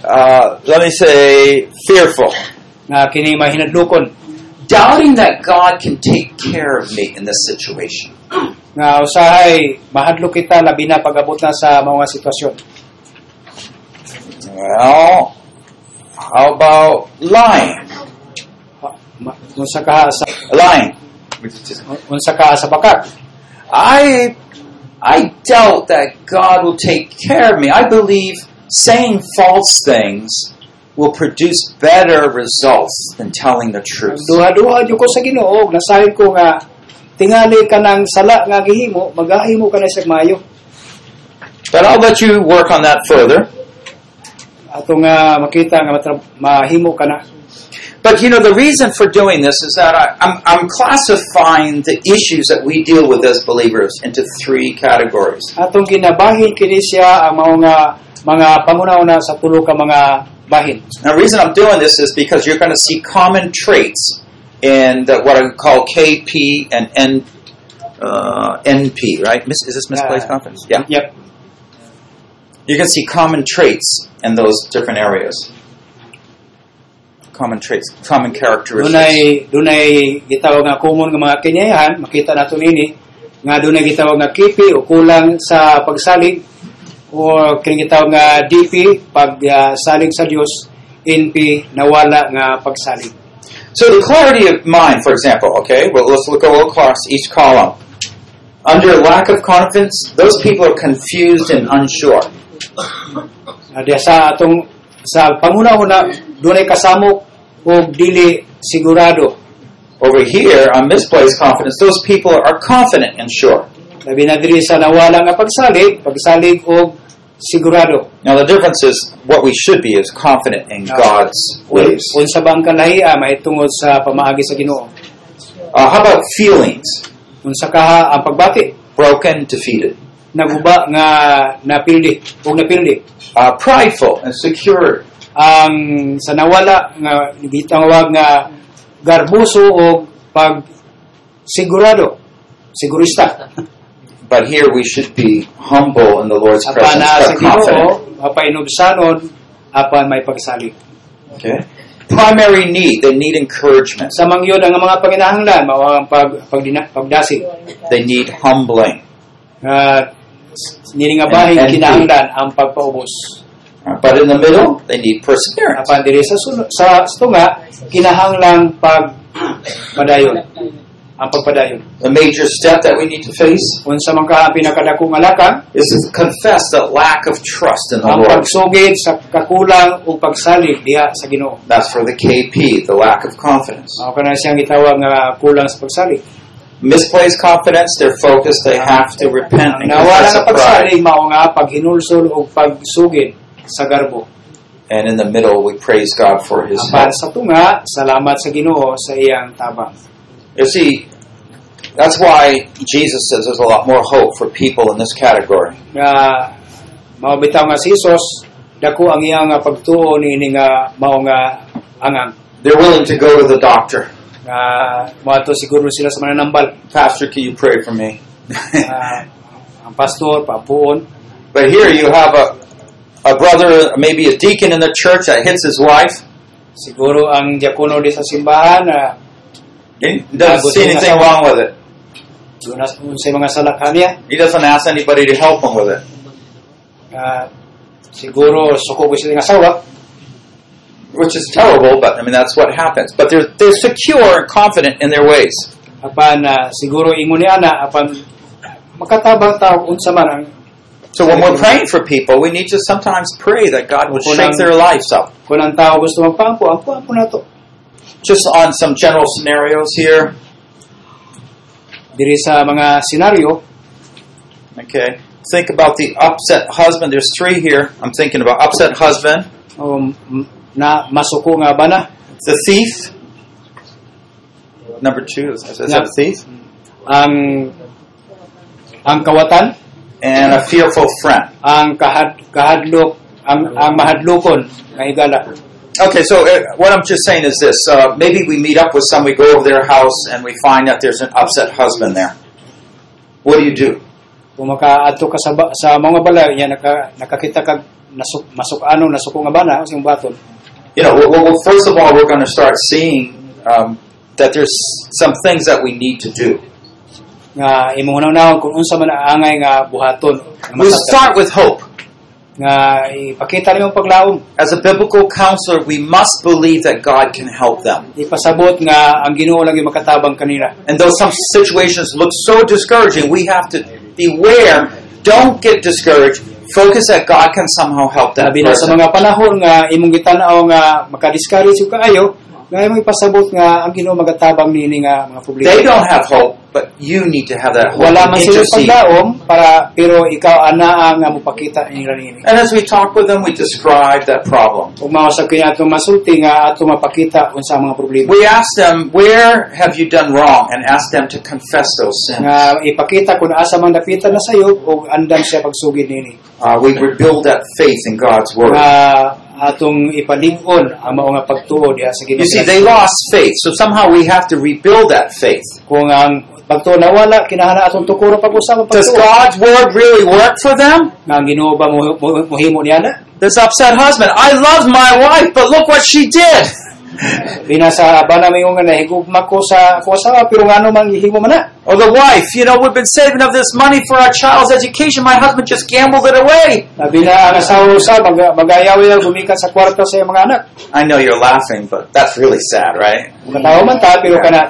Uh, let me say, fearful.
nga kini mahinadlokon
Doubting that God can take care of me in this situation.
nga usahay mahadlok kita labi na pag-abot na sa mga sitwasyon
Well, how about lying?
Ma- Ah, ma- unsa ka sa
Lying. Which is just-
unsa ka sa bakat
I, I doubt that God will take care of me. I believe saying false things will produce better results than telling the truth.
duha-duha jud ko sa Ginoo ug nasayod ko nga tingali ka ng sala nga gihimo magahimo ka na sa mayo
But I'll let you work on that further.
ato nga makita nga matra- mahimo ka na
But you know, the reason for doing this is that I, I'm, I'm classifying the issues that we deal with as believers into three categories.
Atong ginabahin kini siya ang mao nga mga pangunauna sa tulo ka mga bahin.
Now, the reason I'm doing this is because you're going to see common traits in the, what I call KP and N, uh, NP, right? Mis- is this misplaced
Uh,
confidence? Yeah.
Yep.
You can see common traits in those different areas. Common traits, common characteristics.
Dunay dunay gitawag nga common nga mga kinyahan, makita nato nini nga dunay gitawag nga kipi o kulang sa pagsalig o kini gitawag nga DP pag ah, salig sa Dios, NP nawala nga pagsalig.
So the clarity of mind, for example, okay, well let's look all across each column. Under lack of confidence, those people are confused and unsure.
Uh, diya sa atong sa panguna-una dunay kasamok o dili sigurado.
Over here, on misplaced confidence, those people are confident and sure.
Labi na diri sa nawala nga pagsalig, pagsalig og sigurado.
Now the difference is what we should be is confident in God's ways.
Unsa ba ang kalahia mahitungod sa pamaagi sa Ginoo?
Uh, how about feelings?
Unsa kaha ang pagbati?
Broken, defeated.
Naguba nga napildi o napildi.
Uh, prideful and secure.
Ang sa nawala nga gitawag nga garbuso o pag sigurado, sigurista.
But here we should be humble in the Lord's
Apan
presence,
na sa
but confident.
Ginoo, mapainubsanon apan may pagsalig.
Okay. Primary need, they need encouragement.
Sa mangyon ang mga panginahanglan mao ang pag pagdina, pagdasig.
They need humbling.
Nga niningabahin
And- and-
kinahanglan ang pagpaubos.
Uh, But in the middle, they need perseverance.
Apan diri sa suno- sa tunga kinahanglan pag padayon. Ang pagpadayon.
The major step that we need to face
Unsa man ka ang pinakadakong alakang
is to confess the lack of trust in the
ang
Lord.
pagsugid sa kakulang o pagsalig diha sa Ginoo.
That's for the KP, the lack of confidence.
Mao kana siyang gitawag nga kulang sa pagsalig.
Misplaced confidence, they're focused, they have to repent and
Nawala
confess
nga
of pride.
pagsalig mao nga paghinulsol o pagsugid sa garbo.
And in the middle, we praise God for His help.
Apan sa tunga, salamat sa Ginoo sa iyang tabang.
You see, that's why Jesus says there's a lot more hope for people in this category.
nga maubitaw nga si Jesus dako ang iyang nga pagtuo niini nga mao nga angang
They're willing to go to the doctor.
nga moadto siguro sila sa mananambal
Pastor, can you pray for me?
Ah, ang pastor papuon
But here you have a, a brother, maybe a deacon in the church that hits his wife.
siguro ang diakono di sa simbahan na
He doesn't see anything wrong with it.
dunas unsay mga salakhan niya
He doesn't ask anybody to help him with it.
Ah, siguro suko gyud sila nga sawa
Which is terrible, but I mean, that's what happens. But they're, they're secure and confident in their ways.
apan ah, siguro ingon ni ana apan makatabang tao unsa man ang
So when we're praying for people, we need to sometimes pray that God will shake their lives up.
kun ang tao gusto magpampo ang pampo nato
Just on some general scenarios here.
diri sa mga senaryo
Okay. Think about the upset husband. There's three here. I'm thinking about upset husband,
o m- na masuko nga ba na
the thief. Number two is, is that a thief?
ang ang kawatan
And a fearful friend.
ang kahad, kahadlok ang ang mahadlokon nga higala
Okay, so uh, what I'm just saying is this: uh, maybe we meet up with some, we go over their house, and we find that there's an upset husband there. What do you do?
kung makaadto ka sa, ba- sa mga balay niya naka, nakakita kag nasuk masuk ano nasuko nga bana sa baton
You know, well, well first of all, we're going to start seeing um, that there's some things that we need to do.
nga imuhunaw na kung unsa man ang angay nga buhaton nga,
We
masaktan.
start with hope.
nga ipakita nimo ang paglaom
As a biblical counselor, we must believe that God can help them.
ipasabot nga ang Ginoo lang yung makatabang kanila
And though some situations look so discouraging, we have to beware. Don't get discouraged. Focus that God can somehow help that
Labi na sa
person.
mga panahon nga imong gitanaw nga makadiscourage yung kaayo, Ngayon mo ipasabot nga ang Ginoo magatabang nini nga mga problema.
They don't have hope, but you need to have that hope.
Wala man
and
sila
intercede.
pagdaom para pero ikaw ana ah, ang mopakita nila nini.
And as we talk with them, we describe that problem.
Ug mao sa kanya atong masulti nga atong mapakita unsa ang mga problema.
We ask them, Where have you done wrong? and ask them to confess those sins.
Nga ipakita kung asa man napitan na sayo ug andam siya pagsugid nini.
Uh, we rebuild that faith in God's Word.
Nga atong ipalig-on ang mao nga pagtuo diha sa
You
Ginoo.
see, they lost faith, so somehow we have to rebuild that faith.
kung ang pagtuo nawala kinahanglan atong tukuro pag-usa ang
Does
pagtuo.
God's Word really work for them?
Nga ang Ginoo ba mo mo- mohimo niya na?
This upset husband, I love my wife, but look what she did.
Binasa ba na may nga nahigugma ko sa ko sa pero ngano man gihimo man na.
Or the wife, you know, we've been saving up this money for our child's education. My husband just gambled it away.
Labi na ang asawa sa mag, magayaw yan gumikan sa kwarta sa iyang mga anak.
I know you're laughing, but that's really sad, right?
Katawa man ta pero kana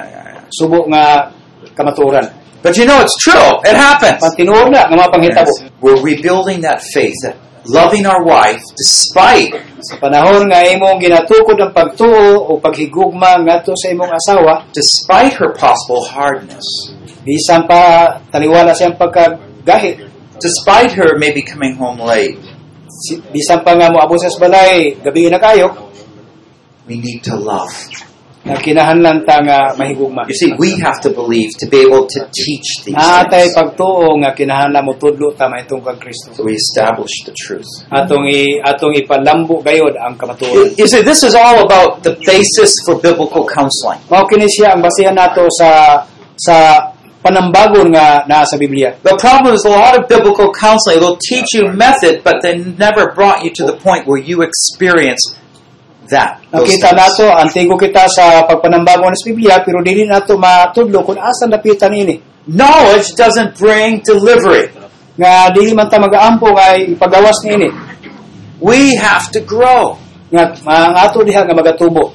subo nga kamaturan.
But you know, it's true. It happens.
Pantinuod na nga mapanghitabo.
We're rebuilding that faith, that loving our wife despite
Sa panahon nga imong ginatukod ang pagtuo o paghigugma ngadto sa imong asawa,
despite her possible hardness,
bisan pa taliwala siyang pagkagahi.
despite her maybe coming home late.
Si- Bisan pa nga moabot sa balay gabi na kayo,
We need to love.
na kinahanglan ta nga mahigugma.
You see, we have to believe to be able to teach these things.
Natay pagtuo nga kinahanglan mo tudlo ta mahitungod kang Kristo.
So we establish the truth.
Atong i, atong ipalambo gayod ang kamatuoran.
You see, this is all about the basis for biblical counseling.
Mao kini siya ang basihan nato sa sa panambagon nga naa sa Biblia.
The problem is a lot of biblical counseling will teach you method, but they never brought you to the point where you experience that. those
Nakita
things.
nato antigo kita sa pagpanambagon sa Biblia pero dili nato matudlo kung asa napitan ini.
Knowledge doesn't bring delivery.
Nga dili man ta magaampo kay ipagawas niini.
We have to grow.
Nga ang ato diha nga magatubo.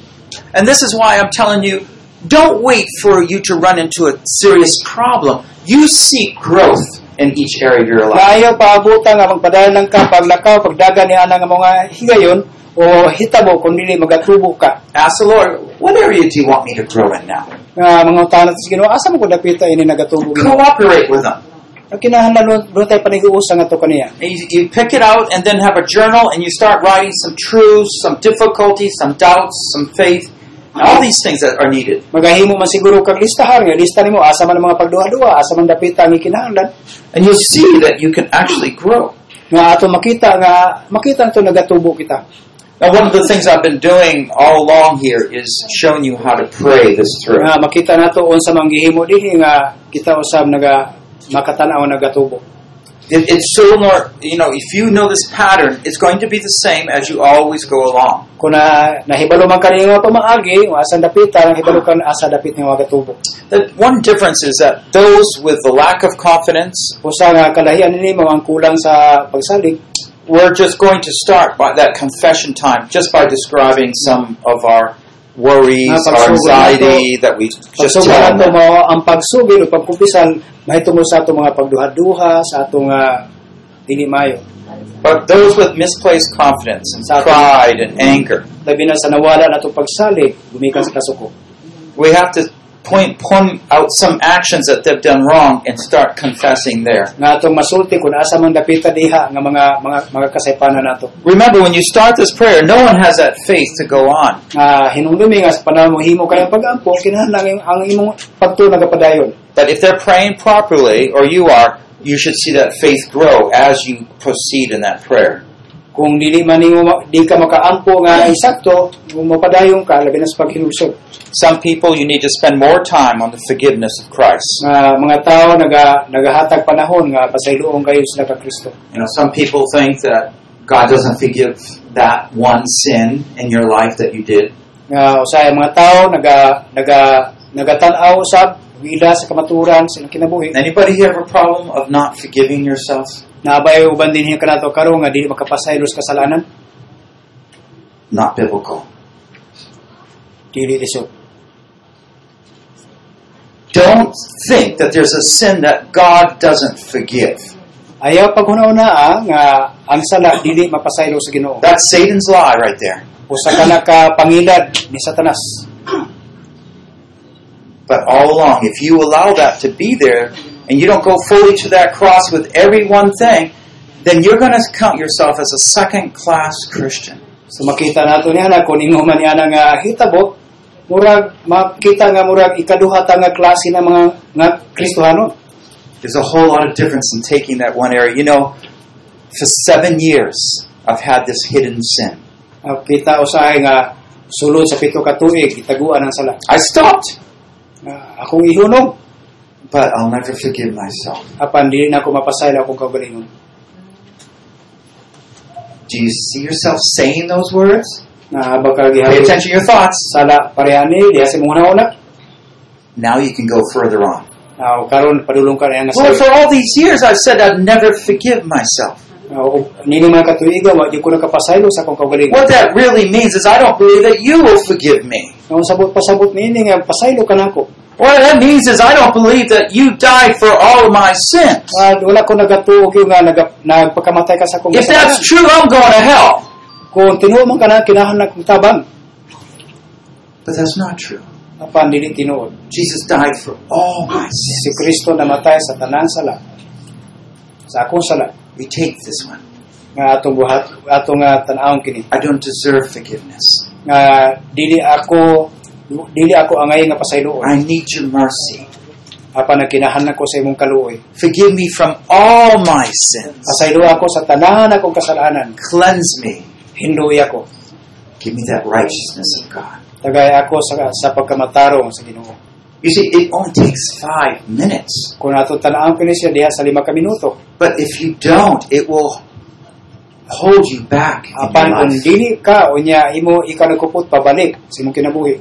And this is why I'm telling you don't wait for you to run into a serious problem. You seek growth in each area of your life.
Maayo paabutan nga magpadalan ka paglakaw pagdagan ni ana nga mga higayon o hitabo kung dili magatubo ka.
Ask the Lord, what area do you want me to grow in now?
nga mga utana sa Ginoo asa mo ko dapita ini nagatubo Ginoo
Cooperate with them.
ang kinahanglan do tay paniguusa nga to kaniya
And you, you pick it out and then have a journal and you start writing some truths, some difficulties, some doubts, some faith, and all these things that are needed.
magahimo man siguro kag listahan nga lista nimo asa man ang mga pagduha-duha asa man dapita ang kinahanglan
And you'll see that you can actually grow.
nga ato makita nga makita to nagatubo kita
Now, one of the things I've been doing all along here is showing you how to pray this through.
nga makita nato unsa man gihimo dihi nga kita usab naga makatan-aw nagatubo
It, it's so more, you know, if you know this pattern, it's going to be the same as you always go along.
kung na nahibalo man kani nga pamaagi o asa dapita nahibalo kan asa dapit nga magatubo
The one difference is that those with the lack of confidence
usa nga kalahian nimo ang kulang sa pagsalig
we're just going to start by that confession time just by describing some of our worries,
Ah,
our
pagsugod
anxiety that we just tell
Pagsuga nato
them.
mo ang pagsugid o pagkumpisan mahitungod sa ato mga pagduha-duha sa ato nga dili mayo.
But those with misplaced confidence and pride and anger,
Labi na sa nawala nato pagsalig gumikan sa kasuko.
we have to point point out some actions that they've done wrong and start confessing there.
Nga atong masulti kun asa man dapita diha nga mga mga mga kasaypanan nato.
Remember, when you start this prayer, no one has that faith to go on.
Nga hinumdumi nga sa panahon mo himo kay ang pag-ampo kinahanglan ang- ang imong pagtuo nagapadayon.
But if they're praying properly, or you are, you should see that faith grow as you proceed in that prayer.
Kung dili man nimo ma- di ka makaampo nga eksakto, kung mapadayon ka labi na sa paghinulsog.
Some people you need to spend more time on the forgiveness of Christ.
Nga mga tao naga nagahatag panahon nga pasayloon kayo sa nagka-Kristo.
You know, some people think that God doesn't forgive that one sin in your life that you did.
nga usay ang mga tao naga naga nagatan-aw usab wila sa kamaturan sa ilang kinabuhi
Anybody here have a problem of not forgiving yourself?
naabay uban din hiya kanato karon nga dili makapasaylos kasalanan
Not biblical.
dili lisod
Don't think that there's a sin that God doesn't forgive.
ayaw paghunahuna nga ang sala dili mapasaylos sa Ginoo
That's Satan's lie right there.
usa ka na ka pangilad ni Satanas
But all along, if you allow that to be there and you don't go fully to that cross with every one thing, then you're going to count yourself as a second class Christian.
So makita nato niya na kung ingo man niya na nga hitabo, murag makita nga murag ikaduha ta nga klase ng mga nga Kristohano.
There's a whole lot of difference in taking that one area. You know, for seven years, I've had this hidden sin.
Ang kita usahay nga sulod sa pito ka tuig itaguan ang sala.
I stopped,
Nga akong ihunog
but I'll never forgive myself.
apan dili na ako mapasaylo akong kaugalingon.
Do you see yourself saying those words?
Nga baka
Pay
gihapon
attention to your thoughts.
sala parehani diha sa mong una
Now you can go further on.
Now, karon padulong ka na nga
Lord,
sa
for all these years, I've said I'd never forgive myself.
nini man katuiga wa di ko nakapasaylo sa akong kaugalingon.
What that really means is I don't believe that you will forgive me.
Nga sabot pasabot nini nga pasaylo ka nako.
What that means is I don't believe that you died for all of my sins.
At wala ko nagatuog yung nga nag, nagpagkamatay ka sa akong
If
kasalanan.
that's true, I'm going to hell.
Kung tinuo man ka na, kinahan na kong tabang.
But that's not true.
Apan dili tinuod.
Jesus died for all my
Si
sins.
Kristo namatay sa tanang sala. Sa akong sala.
We take this one.
Nga atong buhat, atong nga tanawon kini.
I don't deserve forgiveness.
Nga dili ako dili ako angay nga pasayloon.
I need your mercy.
Apan nagkinahan ko sa imong kaluoy.
Forgive me from all my sins.
Pasaylo ako sa tanan akong kasalanan.
Cleanse me.
Hinduy ako.
Give me that righteousness of God.
Tagay ako sa, sa pagkamatarong sa Ginoo.
You see, it only takes five minutes.
Kung atong tanawon kini siya diha sa lima ka minuto.
But if you don't, it will hold you back. in
Apan
your
kung
life.
dili ka o niya imo ikaw nagkupot pabalik sa imong kinabuhi.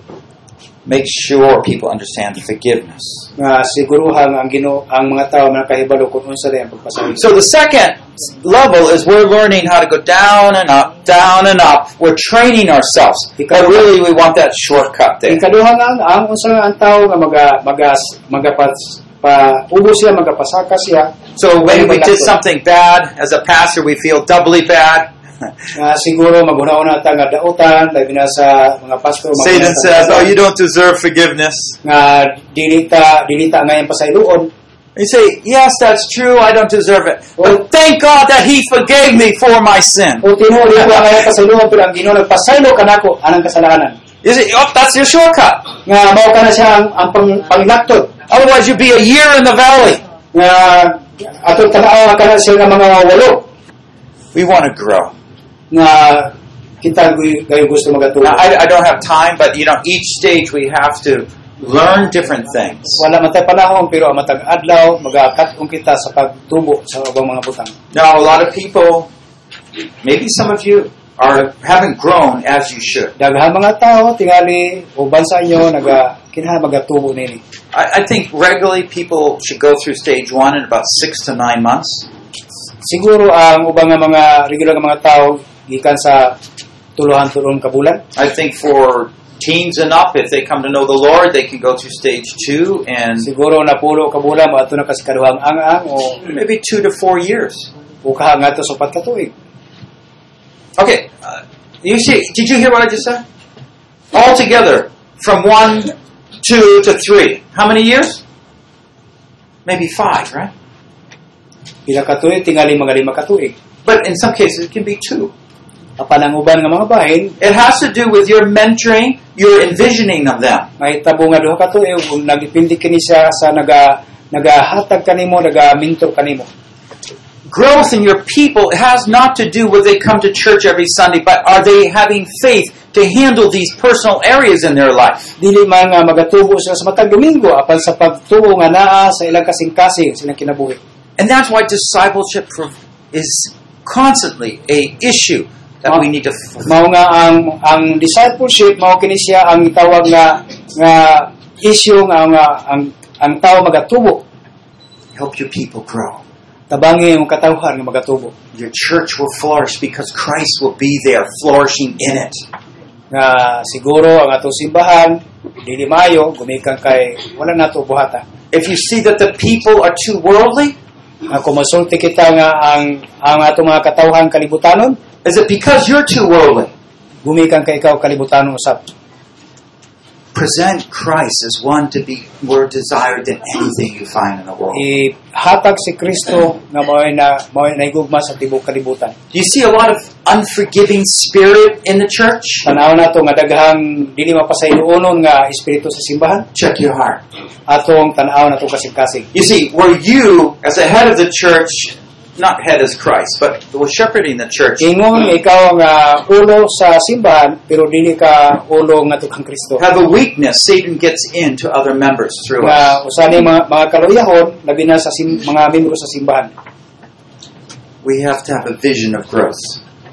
Make sure people understand forgiveness.
Nga siguruhan ang Ginoo ang mga tao na nakahibalo kung unsa rin ang pagpasaylo.
So the second level is we're learning how to go down and up, down and up. We're training ourselves. But really, we want that shortcut there.
Ikaduha nga ang ang unsa nga ang tao nga maga magas magapas pa ubo siya magapasaka siya
So when we did something bad, as a pastor, we feel doubly bad.
nga siguro maghuna-una ta nga dautan labi na sa mga pastor mga
Satan
sa-
says, "Oh, you don't deserve forgiveness."
nga dili ta dili ta ngayon pasayloon
You say, "Yes, that's true. I don't deserve it." But thank God that He forgave me for my sin.
o tinuod ko ngayon pasayloon pero ang Ginoo nagpasaylo kanako anang kasalanan
You say, "Oh, that's your shortcut."
nga mao ka na siya ang, ang pang, panglaktod
Otherwise, you'd be a year in the valley.
nga atong tanaw ka na siya nga mga walo
We want to grow.
nga kita gay- gayo gusto magatulog
Now, I, I don't have time, but you know, each stage we have to learn different things.
Wala man tayo panahon pero ang matag adlaw magakat ung kita sa pagtubo sa ubang mga butang.
Now, a lot of people, maybe some of you, are haven't grown as you should.
Daghang mga tao tingali uban sa inyo naga kinha magatubo nini.
I, I think regularly people should go through stage one in about six to nine months.
Siguro ang ubang nga mga regular nga mga tao gikan sa tuluhan tulon ka bulan.
I think for teens and up, if they come to know the Lord, they can go through stage two and
Siguro napulo ka bulan mo ato na kasi kaduhang ang-ang o
maybe two to four years.
ukaha nga to sa upat ka tuig.
Okay, uh, you see, did you hear what I just said? Altogether, from one, two to three. How many years? Maybe five, right?
Pila ka tuig tingali mga lima ka tuig.
But in some cases, it can be two.
Apan ang uban nga mga bahin
It has to do with your mentoring, your envisioning of them.
mahitabo nga duha ka tuig ug nagipindi kini siya sa naga nagahatag kanimo, naga mentor kanimo.
Growth in your people has not to do with they come to church every Sunday, but are they having faith to handle these personal areas in their life?
dili man nga magatubo sila sa matag Domingo apan sa pagtuo nga naa sa ilang kasing-kasing silang kinabuhi.
And that's why discipleship for, is constantly a issue that we need to
Mao nga ang ang discipleship mao kini siya ang tawag nga nga issue nga nga ang ang tao magatubo
help your people grow.
tabangi ang katawhan nga magatubo
Your church will flourish because Christ will be there flourishing in it.
nga siguro ang atong simbahan dili maayo gumikan kay wala nato buhata
If you see that the people are too worldly,
nga kumonsulti kita nga ang ang atong mga katawhan kalibutanon
is it because you're too worldly?
gumikan kay ikaw kalibutanon usab
present Christ as one to be more desired than anything you find in the world.
Ihatag si Kristo nga mao'y na mao'y naigugma sa tibuok kalibutan.
Do you see a lot of unforgiving spirit in the church?
Tanaw nato nga daghang dili mapasaylonon nga espiritu sa simbahan
Check your heart.
atong tanaw nato kasing-kasing.
You see, were you, as the head of the church, not head as Christ, but were shepherding the church,
Ingon ikaw nga ulo sa simbahan pero dili ka ulo nga tukang Kristo.
have a weakness, Satan gets in to other members through us.
Nga usa ni mga, mga kaluyahon labi na sa sim, mga miyembro sa simbahan
We have to have a vision of growth.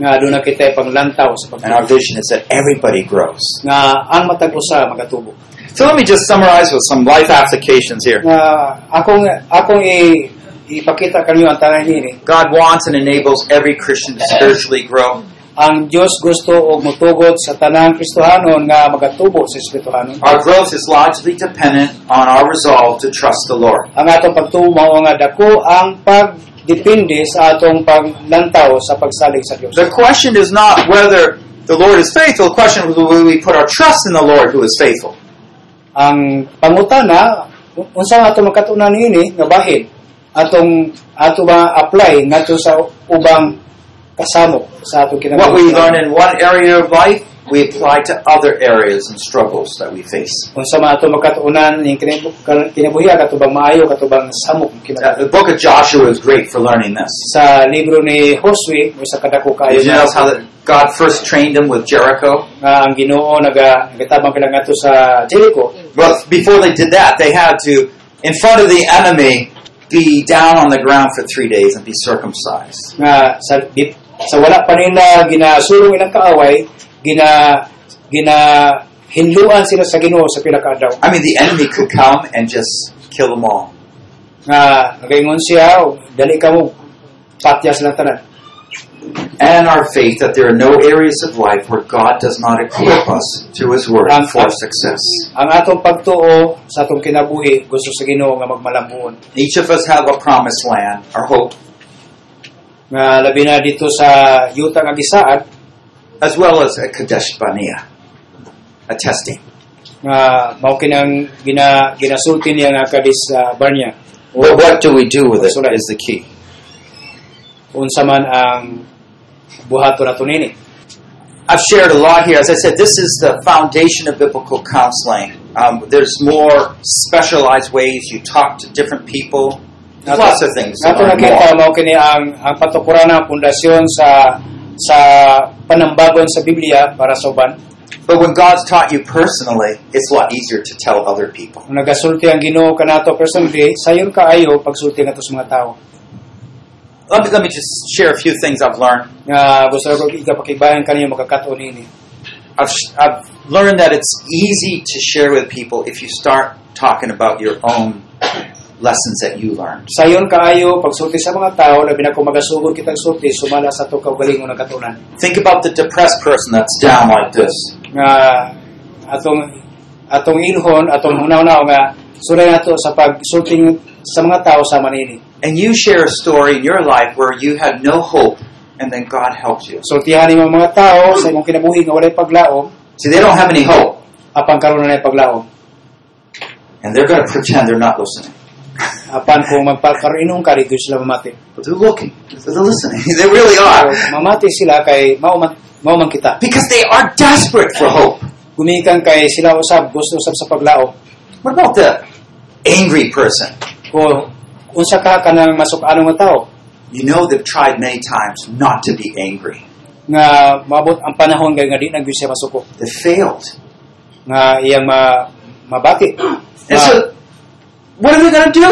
nga aduna kita panglantaw sa
And our
pagtuo.
vision is that everybody grows.
Nga ang matag usa magatubo.
So let me just summarize with some life applications here.
Nga akong akong i, ipakita kanyo ang tanan ini
God wants and enables every Christian to spiritually grow.
ang Dios gusto og mutugod sa tanang Kristohanon nga magatubo sa Espirituhanon.
Our growth is largely dependent on our resolve to trust the Lord.
Ang atong pagtuo mao nga dako ang pagdepende sa atong paglantaw sa pagsalig sa Dios.
The question is not whether the Lord is faithful, the question is whether we put our trust in the Lord who is faithful.
Ang pangutana unsa nga atong makatunan niini nga bahin atong ato ba apply ngadto sa ubang kasamo sa atong
What we learn
kinabangsan.
in one area of life, we apply to other areas and struggles that we face.
Unsa man atong makatunan ning kinabuhi katubang maayo katubang samok
Uh,
kinabangsan.
The book of Joshua is great for learning this.
Sa libro ni Josue mo sa kadako kaayo
Did you notice how that God first trained him with Jericho?
nga ang Ginoo naga nagatabang pila ngadto sa Jericho
But before they did that, they had to, in front of the enemy, be down on the ground for three days and be circumcised.
nga sa di- sa wala pa nila ginasulong ilang kaaway gina gina hinluan sila sa Ginoo sa pila ka adlaw
I mean, the enemy could come and just kill them all.
nga nagaingon siya o, dali ka mo patya sila tanan
And our faith that there are no areas of life where God does not equip us through His Word for success.
ang atong pagtuo sa atong kinabuhi gusto sa Ginoo nga magmalambuon
Each of us have a promised land, our hope,
nga labi na dito sa yuta nga gisaad
as well as a Kadesh Barnea, a testing.
nga mao kinang gina ginasulti niya nga kadis sa Barnia
But what do we do with it is the key.
unsa man ang buhaton nato nini
I've shared a lot here. As I said, this is the foundation of biblical counseling. Um, there's more specialized ways you talk to different people. There's lots of things. to
Nato
learn
nakita
more.
mao kini ang ang patukuran ng pundasyon sa sa panambagon sa Biblia para sa uban.
But when God's taught you personally, it's a lot easier to tell other people.
Kung nagasulti ang Ginoo kanato personally, sayon kaayo pagsulti nato sa mga tao.
Let me, let me just share a few things I've learned.
Nga gusto ko igapakibayan kanimo makakaton ini.
I've, I've learned that it's easy to share with people if you start talking about your own lessons that you learned.
Sayon kaayo pagsulti sa mga tao labi na kung magasugod kitang sulti sumala sa to kaugalingon nga katunan.
Think about the depressed person that's down like this.
Nga atong atong ilhon atong hunaw-hunaw nga sulay nato sa pagsulti sa mga tao sa manini.
and you share a story in your life where you had no hope and then God helped you.
Sultihan ni mga mga tao sa imong kinabuhi nga walay paglaom,
See, they don't have any hope
apan karon na paglaom.
and they're going to pretend they're not listening.
Apan kung magpakarinong ka dito sila mamati.
But they're looking, they're listening. They really
So,
are.
mamati sila kay mauman mauman kita.
Because they are desperate for hope.
Gumikan kay sila usab gusto usab sa paglaom.
What about the angry person?
Kung unsa ka kanang masuk anong nga tao
You know they've tried many times not to be angry.
nga maabot ang panahon kay nga di na gyud siya masuko
They failed.
nga iyang ma mabati.
And
Nga,
so, what are they going to do?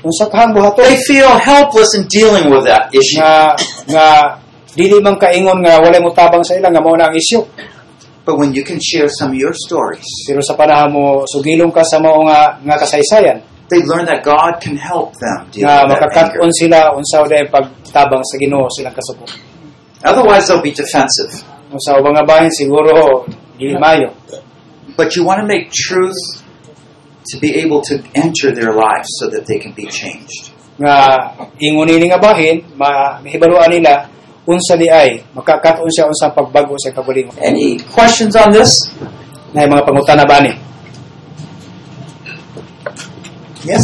unsa ka ang buhaton
They feel helpless in dealing with that issue.
nga nga dili man kaingon nga walay mo tabang sa ila nga mao na ang isyu.
But when you can share some of your stories,
Pero sa panahon mo sugilong ka sa mao nga nga kasaysayan.
they learn that God can help them deal
nga
with that anger.
makakat-on sila unsa uday pagtabang sa Ginoo silang kasuko.
Otherwise, they'll be defensive.
Unsa ubang nga bahin siguro dili mayo.
But you want to make truth to be able to enter their lives so that they can be changed.
Nga ingon ini nga bahin ma- mahibaluan nila unsa di ay makakat-on siya unsa pagbago sa kabulingon.
Any questions on this?
Na mga pangutana ba ni? Yes?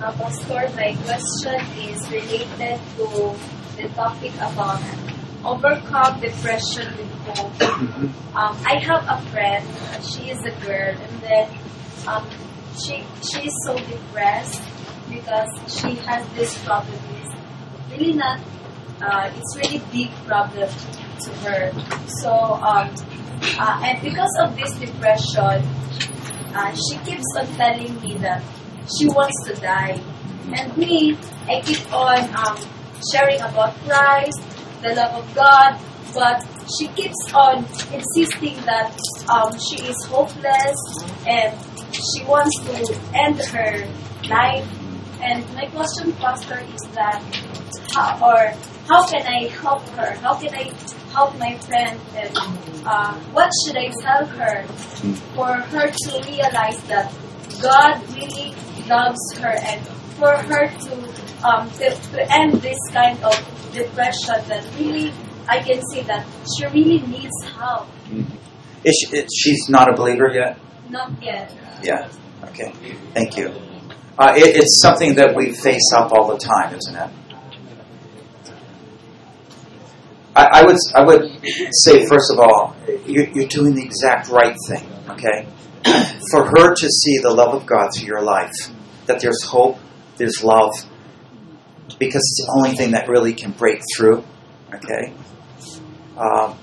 Uh, Pastor, my question is related to the topic about overcome depression with hope. Um, I have a friend. uh, She is a girl, and then um, she she is so depressed because she has this problem. It's really not. Uh, it's really big problem to her. So um, uh, and because of this depression, uh, she keeps on telling me that she wants to die. And me, I keep on um, sharing about Christ, the love of God, but she keeps on insisting that um, she is hopeless and she wants to end her life. And my question, Pastor, is that how, or how can I help her? How can I help my friend? And uh, what should I tell her for her to realize that God really loves her and for her to um, to, to end this kind of depression that really I can see that she really needs help.
Is she, is- she's not a believer yet?
Not yet.
Yeah. Okay. Thank you. Uh, it, it's something that we face up all the time, isn't it? I, I would I would say first of all, you're, you're doing the exact right thing. Okay, for her to see the love of God through your life, that there's hope, there's love, because it's the only thing that really can break through. Okay. Um,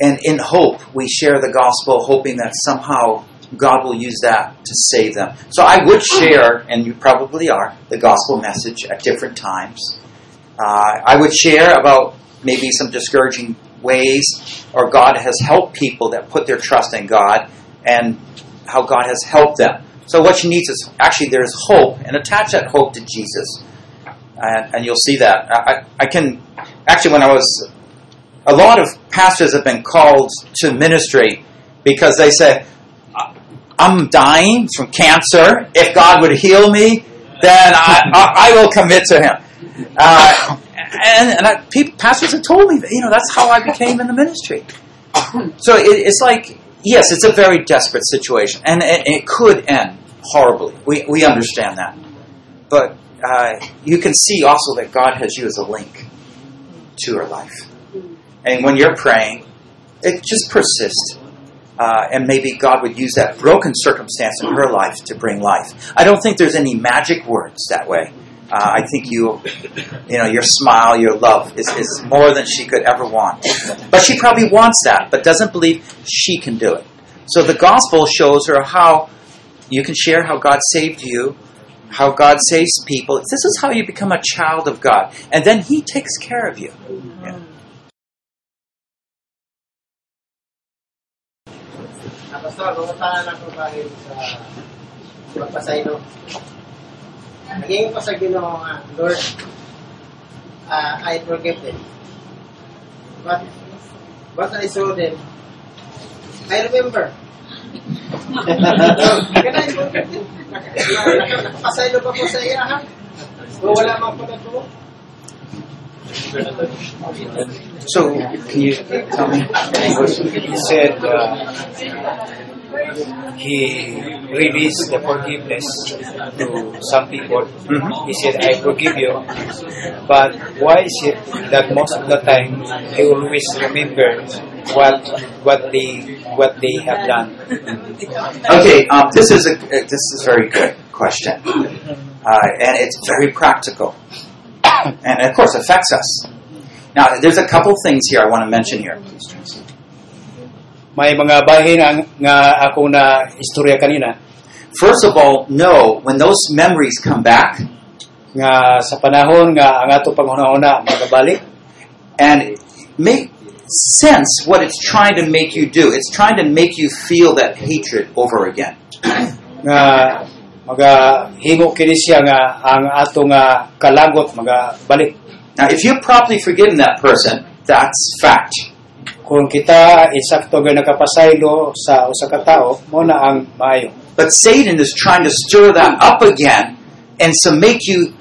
and in hope, we share the gospel, hoping that somehow God will use that to save them. So I would share, and you probably are, the gospel message at different times. Uh, I would share about maybe some discouraging ways, or God has helped people that put their trust in God, and how God has helped them. So what she needs is actually there is hope, and attach that hope to Jesus, and, and you'll see that. I, I, I can actually when I was a lot of pastors have been called to ministry because they say, I'm dying from cancer. If God would heal me, then I, I, I will commit to Him. Uh, and and I, people, pastors have told me that, you know, that's how I became in the ministry. So it, it's like, yes, it's a very desperate situation, and it, it could end horribly. We, we understand that. But uh, you can see also that God has you as a link to her life. And when you're praying, it just persists uh, and maybe God would use that broken circumstance in her life to bring life. I don't think there's any magic words that way. Uh, I think you, you know, your smile, your love is, is more than she could ever want. But she probably wants that, but doesn't believe she can do it. So the gospel shows her how you can share how God saved you, how God saves people. This is how you become a child of God, and then He takes care of you. Yeah.
Ah, Pastor, kumutahan ako dahil sa pagpasaylo. Naging ko sa ginoo nga, Lord, ah, I forgive them. But, but I saw them, I remember. Ganun. Nakapasaylo pa po sa iya, ha? Kung wala man po na po.
So, can you tell me?
He said uh, he released the forgiveness to some people.
Mhm.
He said, I forgive you. But why is it that most of the time they always remember what what they what they have done?
Okay, um, this is a uh, this is a very good question, uh, and it's very practical, and of course affects us. Now, there's a couple things here I want to mention here.
May mga bahin ang nga ako na istorya kanina
First of all, know when those memories come back,
nga sa panahon nga ang ato panghuna-huna magabalik
and make sense what it's trying to make you do. It's trying to make you feel that hatred over again.
nga maga himo kini siya nga ang ato nga kalangot maga balik
Now, if you've properly forgiven that person, that's fact.
kung kita insakto nga nakapasaylo sa usa ka tao mo na ang maayo
But Satan is trying to stir that up again and to make you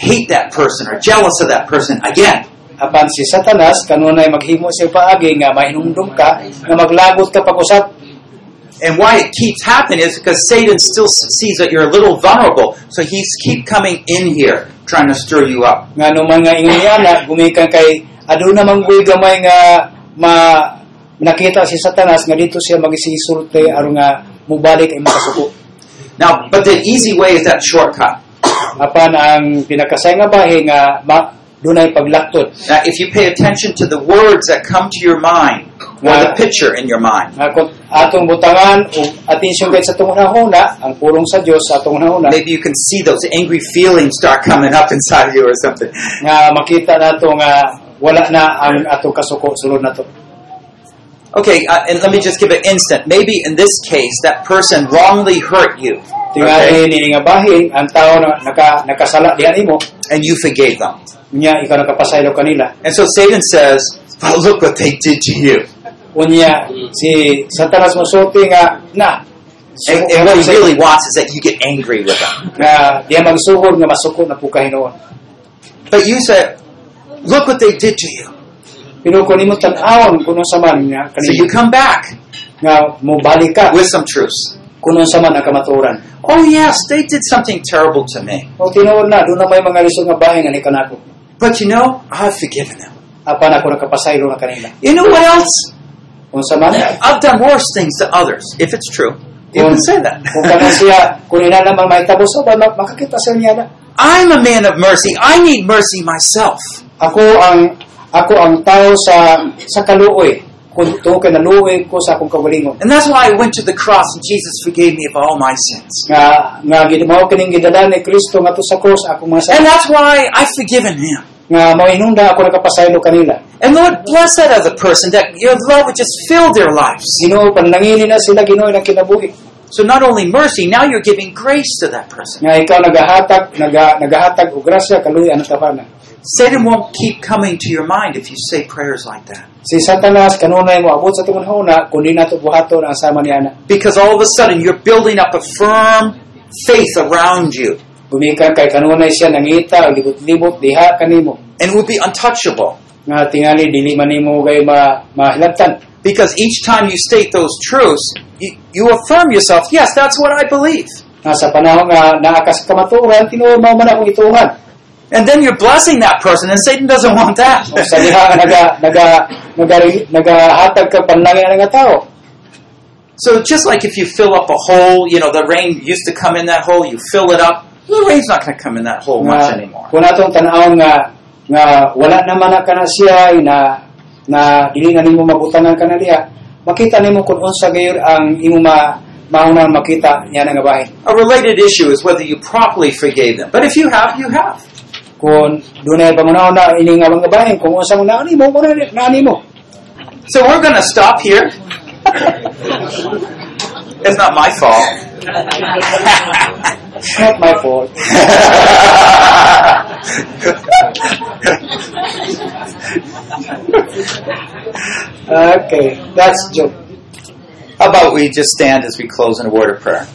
hate that person or jealous of that person again.
apan si Satanas kanunay maghimo siya paagi nga mahinumdum ka nga maglagot ka pag-usap
And why it keeps happening is because Satan still sees that you're a little vulnerable, so he's keep coming in here trying to stir you up.
nga no man nga ingon niya na gumikan kay aduna mang buhi gamay nga ma nakita si Satanas nga dito siya magisisulti aron nga mubalik ay makasuko.
Now, but the easy way is that shortcut.
Apan ang pinakasay nga bahe nga ma, dunay paglaktot
Now, if you pay attention to the words that come to your mind or the picture in your mind,
nga kung atong butangan o atensyon kay sa tungong huna ang pulong sa Dios sa atong huna
maybe you can see those angry feelings start coming up inside of you or something.
nga makita nato nga wala na ang atong kasuko sulod nato.
Okay, uh, and let me just give an instant. Maybe in this case, that person wrongly hurt you, okay,
Tingali ni nga bahin ang tao na naka, nakasala diha nimo
and you forgave them.
unya ikaw nakapasaylo kanila
And so Satan says, "But look what they did to you."
unya si Satanas mosulti nga na
And,
suko-
and what he really wants is that you get angry with them.
nga diya magsuhod nga masuko na po kahinoon
But you said, "Look what they did to you."
pero kung nimo tan-awon kuno sa man nga
So
kanila
you come back
nga mobalik ka
with some truths.
kuno sa man ang kamatuoran
Oh yes, they did something terrible to me.
o tinuod na doon na may mga lisod nga bahin nga nika nako
But you know, I've forgiven them.
apan ako nakapasaylo na kanila
You know what else?
kung sa man
I've done worse things to others, if it's true. You
Well,
can say
kung kana
that.
siya kung ina naman may tabos sa ba makakita sa niya na
I'm a man of mercy. I need mercy myself.
ako ang ako ang tao sa sa kaluoy kung tuo kay naluoy ko sa akong kagalingon
And that's why I went to the cross and Jesus forgave me of all my sins.
nga nga gidmao kining gidala ni Kristo nga to sa cross akong mga
And
sala
that's why I've forgiven him.
nga mao inunda ako nakapasaylo kanila
And Lord, bless that other person that your love would just fill their lives.
Ginoo panlangini na sila Ginoo na kinabuhi
So not only mercy, now you're giving grace to that person.
nga ikaw nagahatag naga, nagahatag og grasya kaluy ang tabana
Satan won't keep coming to your mind if you say prayers like that.
si Satanas kanunay mo abot sa tungon huna kun di nato buhaton ang sama ni ana
Because all of a sudden you're building up a firm faith around you.
gumikan kay kanunay siya nangita libot-libot diha kanimo
And will be untouchable.
nga tingali dili man nimo gay ma mahilabtan
Because each time you state those truths, you, you affirm yourself, yes, that's what I believe.
nga sa panahon nga naakas kamatuoran tinuod mao man akong ituhan
And then you're blessing that person, and Satan doesn't want that.
o sa diha nga naga naga naga nagahatag ka panlangin nga tao
so just like if you fill up a hole, you know, the rain used to come in that hole, you fill it up, the rain's not going to come in that hole much
nga
anymore.
kung natong tanawon nga nga wala naman na kana siya na na dili na nimo mabutangan kana diha makita nimo kung unsa gayon ang imo ma mauna makita niya na nga bahin
A related issue is whether you properly forgave them. But if you have, you have.
kung dunay pangunaw na ini nga mga bahin kung unsa mo na nimo mo na nimo
So we're going to stop here. it's not my fault.
it's not my fault okay that's joke
How about we just stand as we close in a word of prayer?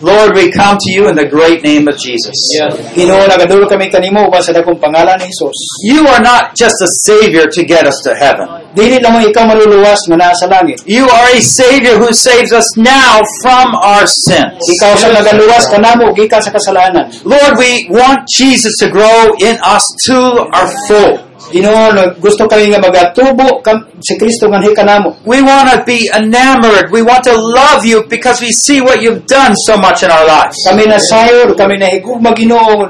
Lord, we come to you in the great name of Jesus.
Ginoo nagadulo kami kanimo uban sa dakong pangalan ni Hesus
You are not just a Savior to get us to heaven.
dili lang mo ikaw maluluwas nga naa sa langit
You are a Savior who saves us now from our sins.
ikaw sa nagaluwas kanamo gikan sa kasalanan
Lord, we want Jesus to grow in us to our full.
Ginoo no, gusto kami nga magatubo kam, si Kristo nga hika namo
We want to be enamored. We want to love you because we see what you've done so much in our lives.
kami na sayor kami na higugma Ginoo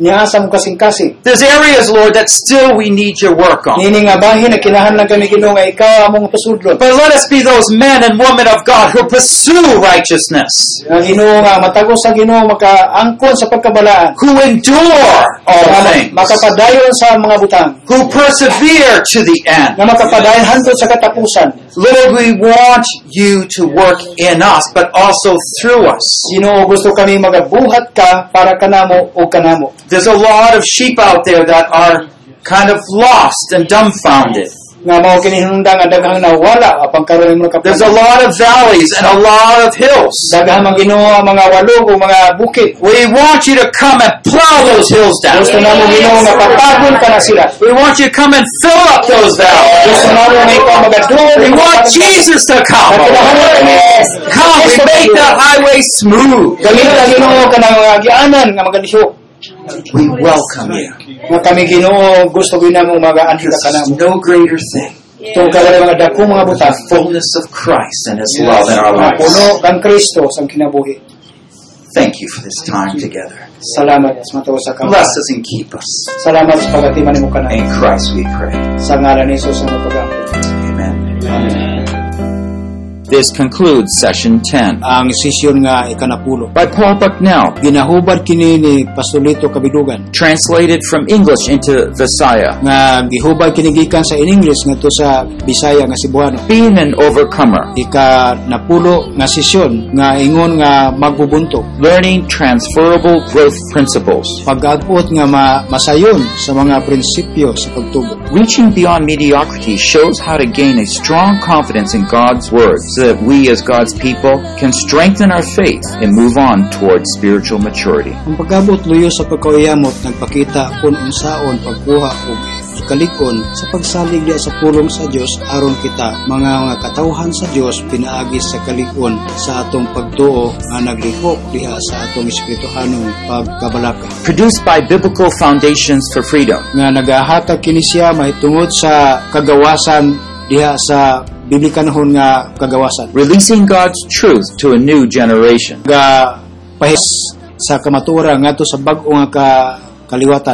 niasa mo kasing kasing
There's areas, Lord, that still we need your work on.
Nini nga bahin na kinahanglan kami Ginoo nga ikaw among pasudlon
But let us be those men and women of God who pursue righteousness,
nga Ginoo nga matagos sa Ginoo makaangkon sa pagkabalaan
who endure all
Nga
things,
makapadayon sa mga butang
who persevere to the end.
nga makapadayon hangtod sa katapusan
Lord, we want you to work in us, but also through us.
Ginoo gusto kami magabuhat ka para kanamo o kanamo
There's a lot of sheep out there that are kind of lost and dumbfounded.
nga mao kini hinungdan nga daghang nawala apang karon imong
There's a
kapangalawa.
lot of valleys and a lot of hills.
Daghang mga Ginoo ang mga walog o mga bukid.
We want you to come and plow those hills down.
Gusto namo Ginoo nga patagon ka na sila.
We want you to come and fill up those valleys.
Gusto namo may ka magadulog.
We want Jesus to come. Come, we make that highway smooth.
Galing ka Ginoo kanang mga agianan nga magalisok.
We welcome you.
Nga kami Ginoo gusto gyud namo mga anhi ka
There's
kanamo.
no greater thing.
Tungod kay mga dako mga
With
butas.
the fullness of Christ and His love in our lives.
Puno kang Kristo sa kinabuhi.
Thank you for this time together.
Salamat sa matuo sa kamo.
Bless us and keep us.
Salamat sa pagatiman nimo kanamo.
In Christ we pray.
Sa ngalan ni Jesus ang pag
Amen. This concludes session 10
Ang sesyon nga ikanapulo.
by Paul Bucknell,
Ginahubad kini ni Pasulito Kabidugan
translated from English into Visaya.
nga gihubad kini gikan sa in English ngadto sa Bisaya nga Cebuano.
Being an overcomer,
Ika napulo nga sesyon nga ingon nga magbubuntog
learning transferable growth principles,
pag-agpot nga ma- masayon sa mga prinsipyo sa pagtubo.
reaching beyond mediocrity shows how to gain a strong confidence in God's word so that we as God's people can strengthen our faith and move on toward spiritual maturity.
Ang pag-abot luyo sa pagkauyamot nagpakita kung unsaon pagkuha o kalikon sa pagsalig diya sa pulong sa Dios aron kita mga nga katawhan sa Dios pinaagi sa kalikon sa atong pagtuo nga naglihok diha sa atong espirituhanong pagkabalaka
Produced by Biblical Foundations for Freedom.
nga nagahatag kini siya mahitungod sa kagawasan diha sa biblikanhon nga kagawasan
Releasing God's truth to a new generation.
nga pahis sa kamatura ngadto sa bag-o nga ka kaliwatan